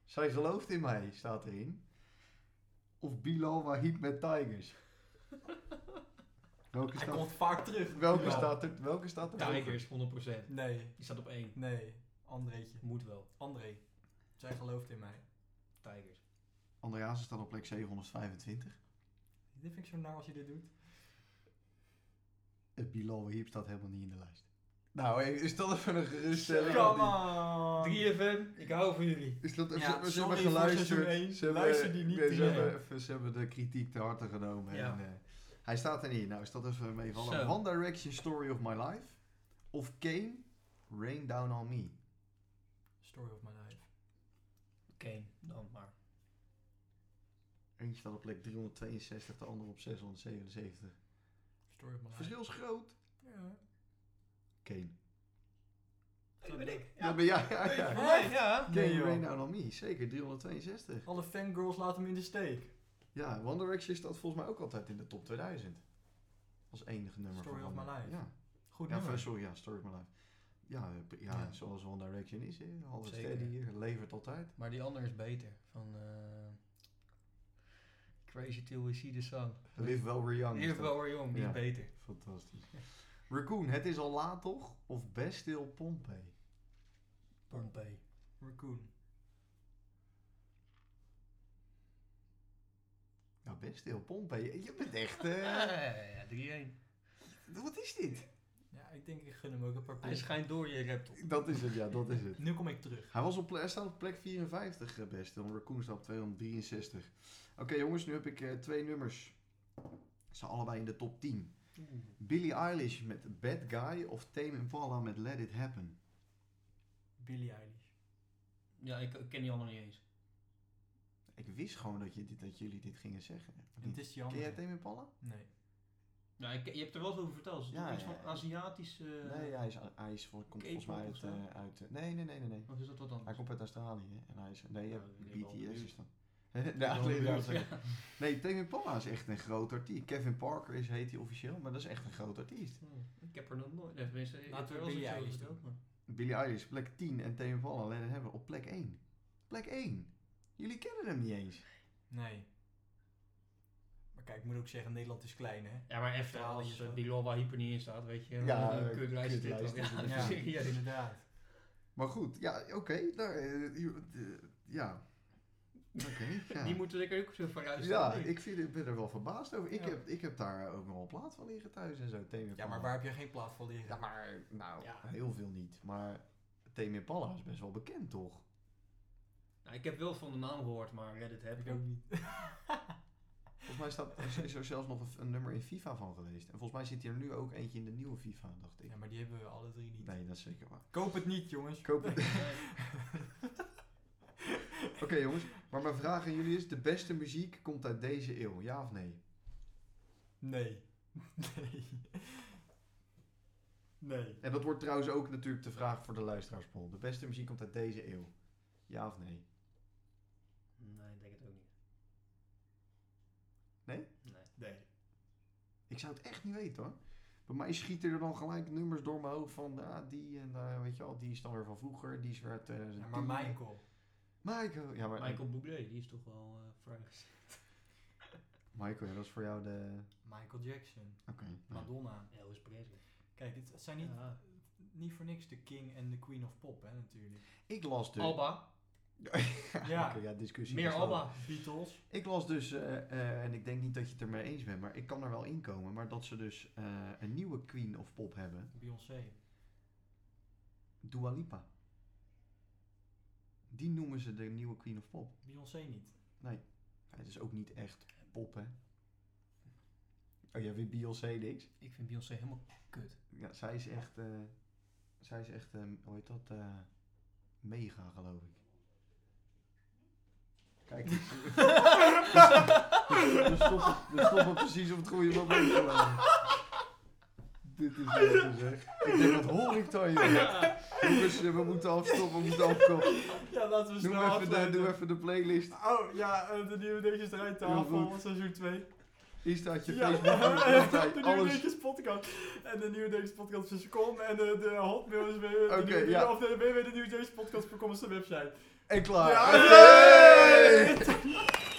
S2: Zij gelooft in mij, staat erin. Of Bilal Wahid met
S1: [LAUGHS]
S2: Tigers. welke
S1: Hij
S2: staat,
S1: komt vaak terug.
S2: welke
S1: Ja.
S2: staat er? Welke staat er? hoger?
S3: Tigers, 100%.
S1: Nee,
S3: Die staat op 1.
S1: nee. Andreetje.
S3: Moet wel.
S1: André. Zij gelooft in mij.
S3: Tigers.
S2: André Hazes staat op plek 725.
S1: Dit vind ik zo naar als je dit doet.
S2: En Eh, Bilal Wahid staat helemaal niet in de lijst. Nou, hey, is dat even een geruststelling? of
S1: Come
S2: niet?
S1: on.
S3: 3FM, ik hou van jullie.
S2: Is dat,
S1: Ja,
S2: ze, hebben- ze hebben
S1: sorry voor
S2: geluisterd.
S1: seizoen één.
S2: Ze hebben,
S1: Luister die niet
S2: nee, ze,
S1: terug.
S2: hebben, even- ze hebben de kritiek te harte genomen.
S3: Ja.
S2: En, eh, hij staat er niet. in. Nou, is dat even meevallen.
S3: Zo.
S2: One Direction Story of My Life. Of Kane, Rain Down on Me.
S1: Story of my life.
S3: Kane, dan maar.
S2: Eentje staat op plek 362, de andere op 677.
S1: Story of my life.
S2: Verschil is groot.
S1: Ja.
S2: Kane.
S3: Dat ben ik.
S2: Ja, ben jij. Ja, ja.
S1: Hey.
S2: Kane,
S3: Ja, ja.
S1: Nee, joh.
S2: Rain Down on Me. Zeker, 362.
S1: Alle fangirls laten hem in de steek.
S2: Ja, One Direction staat volgens mij ook altijd in de top 2000. Als enige nummer.
S1: Story
S2: van
S1: of My
S2: One-
S1: Life.
S2: Ja.
S1: Goed
S2: Ja,
S1: nummer.
S2: sorry, ja, Story of My Life. Ja, eh, p- ja,
S1: Ja.
S2: zoals One Direction is, hè. altijd
S3: Zeker.
S2: steady, eh, levert altijd.
S3: Maar die andere is beter. Van eh, Crazy Till We See The Sun.
S2: Live Well We're Young.
S3: Die
S2: is
S3: heeft
S2: dat.
S3: wel weer jong, die
S2: Ja.
S3: is beter.
S2: Fantastisch. Raccoon, het is al laat toch? Of Best Still Pompey?
S3: Pompey.
S1: Raccoon.
S2: Ja, Best Still Pompey. Je bent echt...
S3: Ja,
S2: eh, [LAUGHS]
S3: ja, 3-1.
S2: wat is dit?
S1: Ja, ik denk ik gun hem ook een paar
S3: Hij
S1: punten.
S3: schijnt door je laptop.
S2: Dat is het, ja, dat is het.
S1: Nu kom ik terug.
S2: Hij, was op, ple- hij staat op plek 54 eh, best, dan Raccoon staat op 263. Oké jongens, nu heb ik eh, twee nummers. Ze zijn allebei in de top 10. Billie Eilish met Bad Guy of Tame Impala met Let It Happen?
S1: Billie Eilish.
S3: Ja, ik, ik ken die andere niet eens.
S2: Ik wist gewoon dat, je dit, dat jullie dit gingen zeggen.
S1: En het
S3: Oh,
S1: is die
S2: Ken
S1: andere.
S2: jij Tame Impala?
S1: Nee.
S3: Ja, ik, je hebt er wel eens over verteld. Is het
S2: Ja,
S3: iets
S2: ja,
S3: van
S2: ja.
S3: Aziatisch... eh,
S2: nee, hij, is, hij is, vol- komt volgens
S3: K-pop
S2: mij
S3: of
S2: uit...
S3: zo?
S2: eh, uit eh, nee, nee, nee, nee, nee.
S3: Wat is dat wat dan?
S2: Hij komt uit Australië. hè, En hij is... Nee,
S3: Ja,
S2: eh,
S3: ik ben wel
S2: BTS
S3: benieuwd.
S2: is dan. [LAUGHS] nee, dat
S3: [LAUGHS]
S2: is
S3: Ja.
S2: wel- nee, Tame Impala is echt een groot artiest. Kevin Parker is, heet hij officieel, maar dat is echt een groot artiest.
S3: Hmm, Ik heb er nog nooit... Nee, tenminste, ik
S1: Laten
S3: heb er
S1: we
S3: wel eens
S1: Billie
S3: iets over
S1: Eilish
S3: verteld. maar-
S2: Billie Eilish, plek 10 en Tame Impala Let It Happen op plek 1. Plek 1. Jullie kennen hem niet eens.
S1: Nee. Maar kijk, ik moet ook zeggen, Nederland is klein, hè?
S3: Ja, maar even
S1: Australië
S3: als
S1: is
S3: uh,
S1: dat.
S3: Bilal hyper niet in staat, weet je.
S2: Ja,
S3: dan
S2: eh,
S3: kun je luisteren dit
S2: kutlijst
S3: wel.
S2: is het.
S3: Ja,
S1: Ja,
S3: serieus.
S1: inderdaad.
S2: Maar goed, ja, oké. daar, eh, je- eh, ja. Oké,
S3: [LAUGHS]
S2: ja.
S3: Die moeten zeker ook zo vooruit
S2: Ja,
S3: staan.
S2: ik vind, ik ben er wel verbaasd over. Ik,
S1: Ja.
S2: heb, ik heb daar ook nog wel plaat van liggen thuis en zo. Tame
S1: Ja,
S2: Impala.
S1: maar waar heb je geen plaat voor liggen?
S2: Ja, maar nou,
S3: Ja.
S2: heel veel niet. Maar Tame Impala is best wel bekend, toch?
S3: Nou, ik heb wel van de naam gehoord, maar Reddit heb
S1: Heb
S3: ik
S1: ik ook
S3: ook.
S1: niet.
S2: Volgens mij staat, is er zelfs nog een, een nummer in FIFA van geweest. En volgens mij zit hier nu ook eentje in de nieuwe FIFA, dacht ik.
S1: Ja, maar die hebben we alle drie niet.
S2: Nee, dat is zeker waar.
S1: Koop het niet, jongens.
S2: Koop het.
S1: [LAUGHS]
S2: Oké jongens, maar mijn vraag aan jullie is, de beste muziek komt uit deze eeuw, ja of nee?
S1: Nee. Nee. Nee.
S2: En dat wordt trouwens ook natuurlijk de vraag voor de luisteraarspol. De beste muziek komt uit deze eeuw. Ja of nee?
S3: Nee, ik denk het ook niet.
S2: Nee?
S3: Nee.
S5: Nee.
S2: Ik zou het echt niet weten hoor. Bij mij schieten er dan gelijk nummers door mijn hoofd van ah, die en daar, weet je wel, die is dan weer van vroeger, die is weer
S1: Ja,
S2: uit 2010.
S1: maar Michael.
S2: Michael, ja, maar
S3: Michael Bublé, die is toch wel eh vrij
S2: Michael, ja, dat is voor jou de.
S1: Michael Jackson.
S2: Oké. nou.
S1: Madonna.
S3: Elvis Presley.
S1: Kijk, dit zijn niet,
S3: Ja.
S1: niet voor niks de king en de queen of pop, hè, natuurlijk.
S2: Ik las [LAUGHS] dus.
S3: Alba.
S1: Ja.
S2: Oké, ja, discussie.
S3: Meer
S2: is wel-
S3: Alba.
S1: Beatles.
S2: Ik las dus, eh, eh, en ik denk niet dat je het ermee eens bent, maar ik kan er wel in komen, maar dat ze dus eh, een nieuwe queen of pop hebben.
S1: Beyoncé.
S2: Dua Lipa. Die noemen ze de nieuwe queen of pop.
S1: Beyoncé niet.
S2: Ja, het is ook niet echt pop, hè? Oh, jij vindt Beyoncé niks?
S3: Ik vind Beyoncé helemaal kut.
S2: Ja, zij is echt, eh, zij is echt, eh, hoe heet dat, eh, mega geloof ik. Kijk, we stoppen, we stoppen, we stoppen precies op het goede moment. geloof ik. [LAUGHS] Dit is wat zeg. Ik denk, wat hoor ik dan, joh? Jongens, eh, we moeten afstoppen, we moeten afkomen.
S1: Ja, laten we
S2: Doe even de, doe even de playlist.
S1: Oh, ja, eh, de nieuwe Netjes eruit
S2: Heel
S1: tafel, seizoen 2.
S2: Hier staat je
S1: Ja, [LAUGHS]
S2: Facebook,
S1: de
S2: ja.
S1: nieuwe
S2: alles.
S1: Netjes podcast. En de nieuwe Netjes podcast is com en de, de hotmail is weer...
S2: Oké,
S1: de nieuwe,
S2: ja.
S1: Of de www.denieuwenetjespodcast.com is de website.
S2: En klaar.
S1: Ja,
S2: Hey!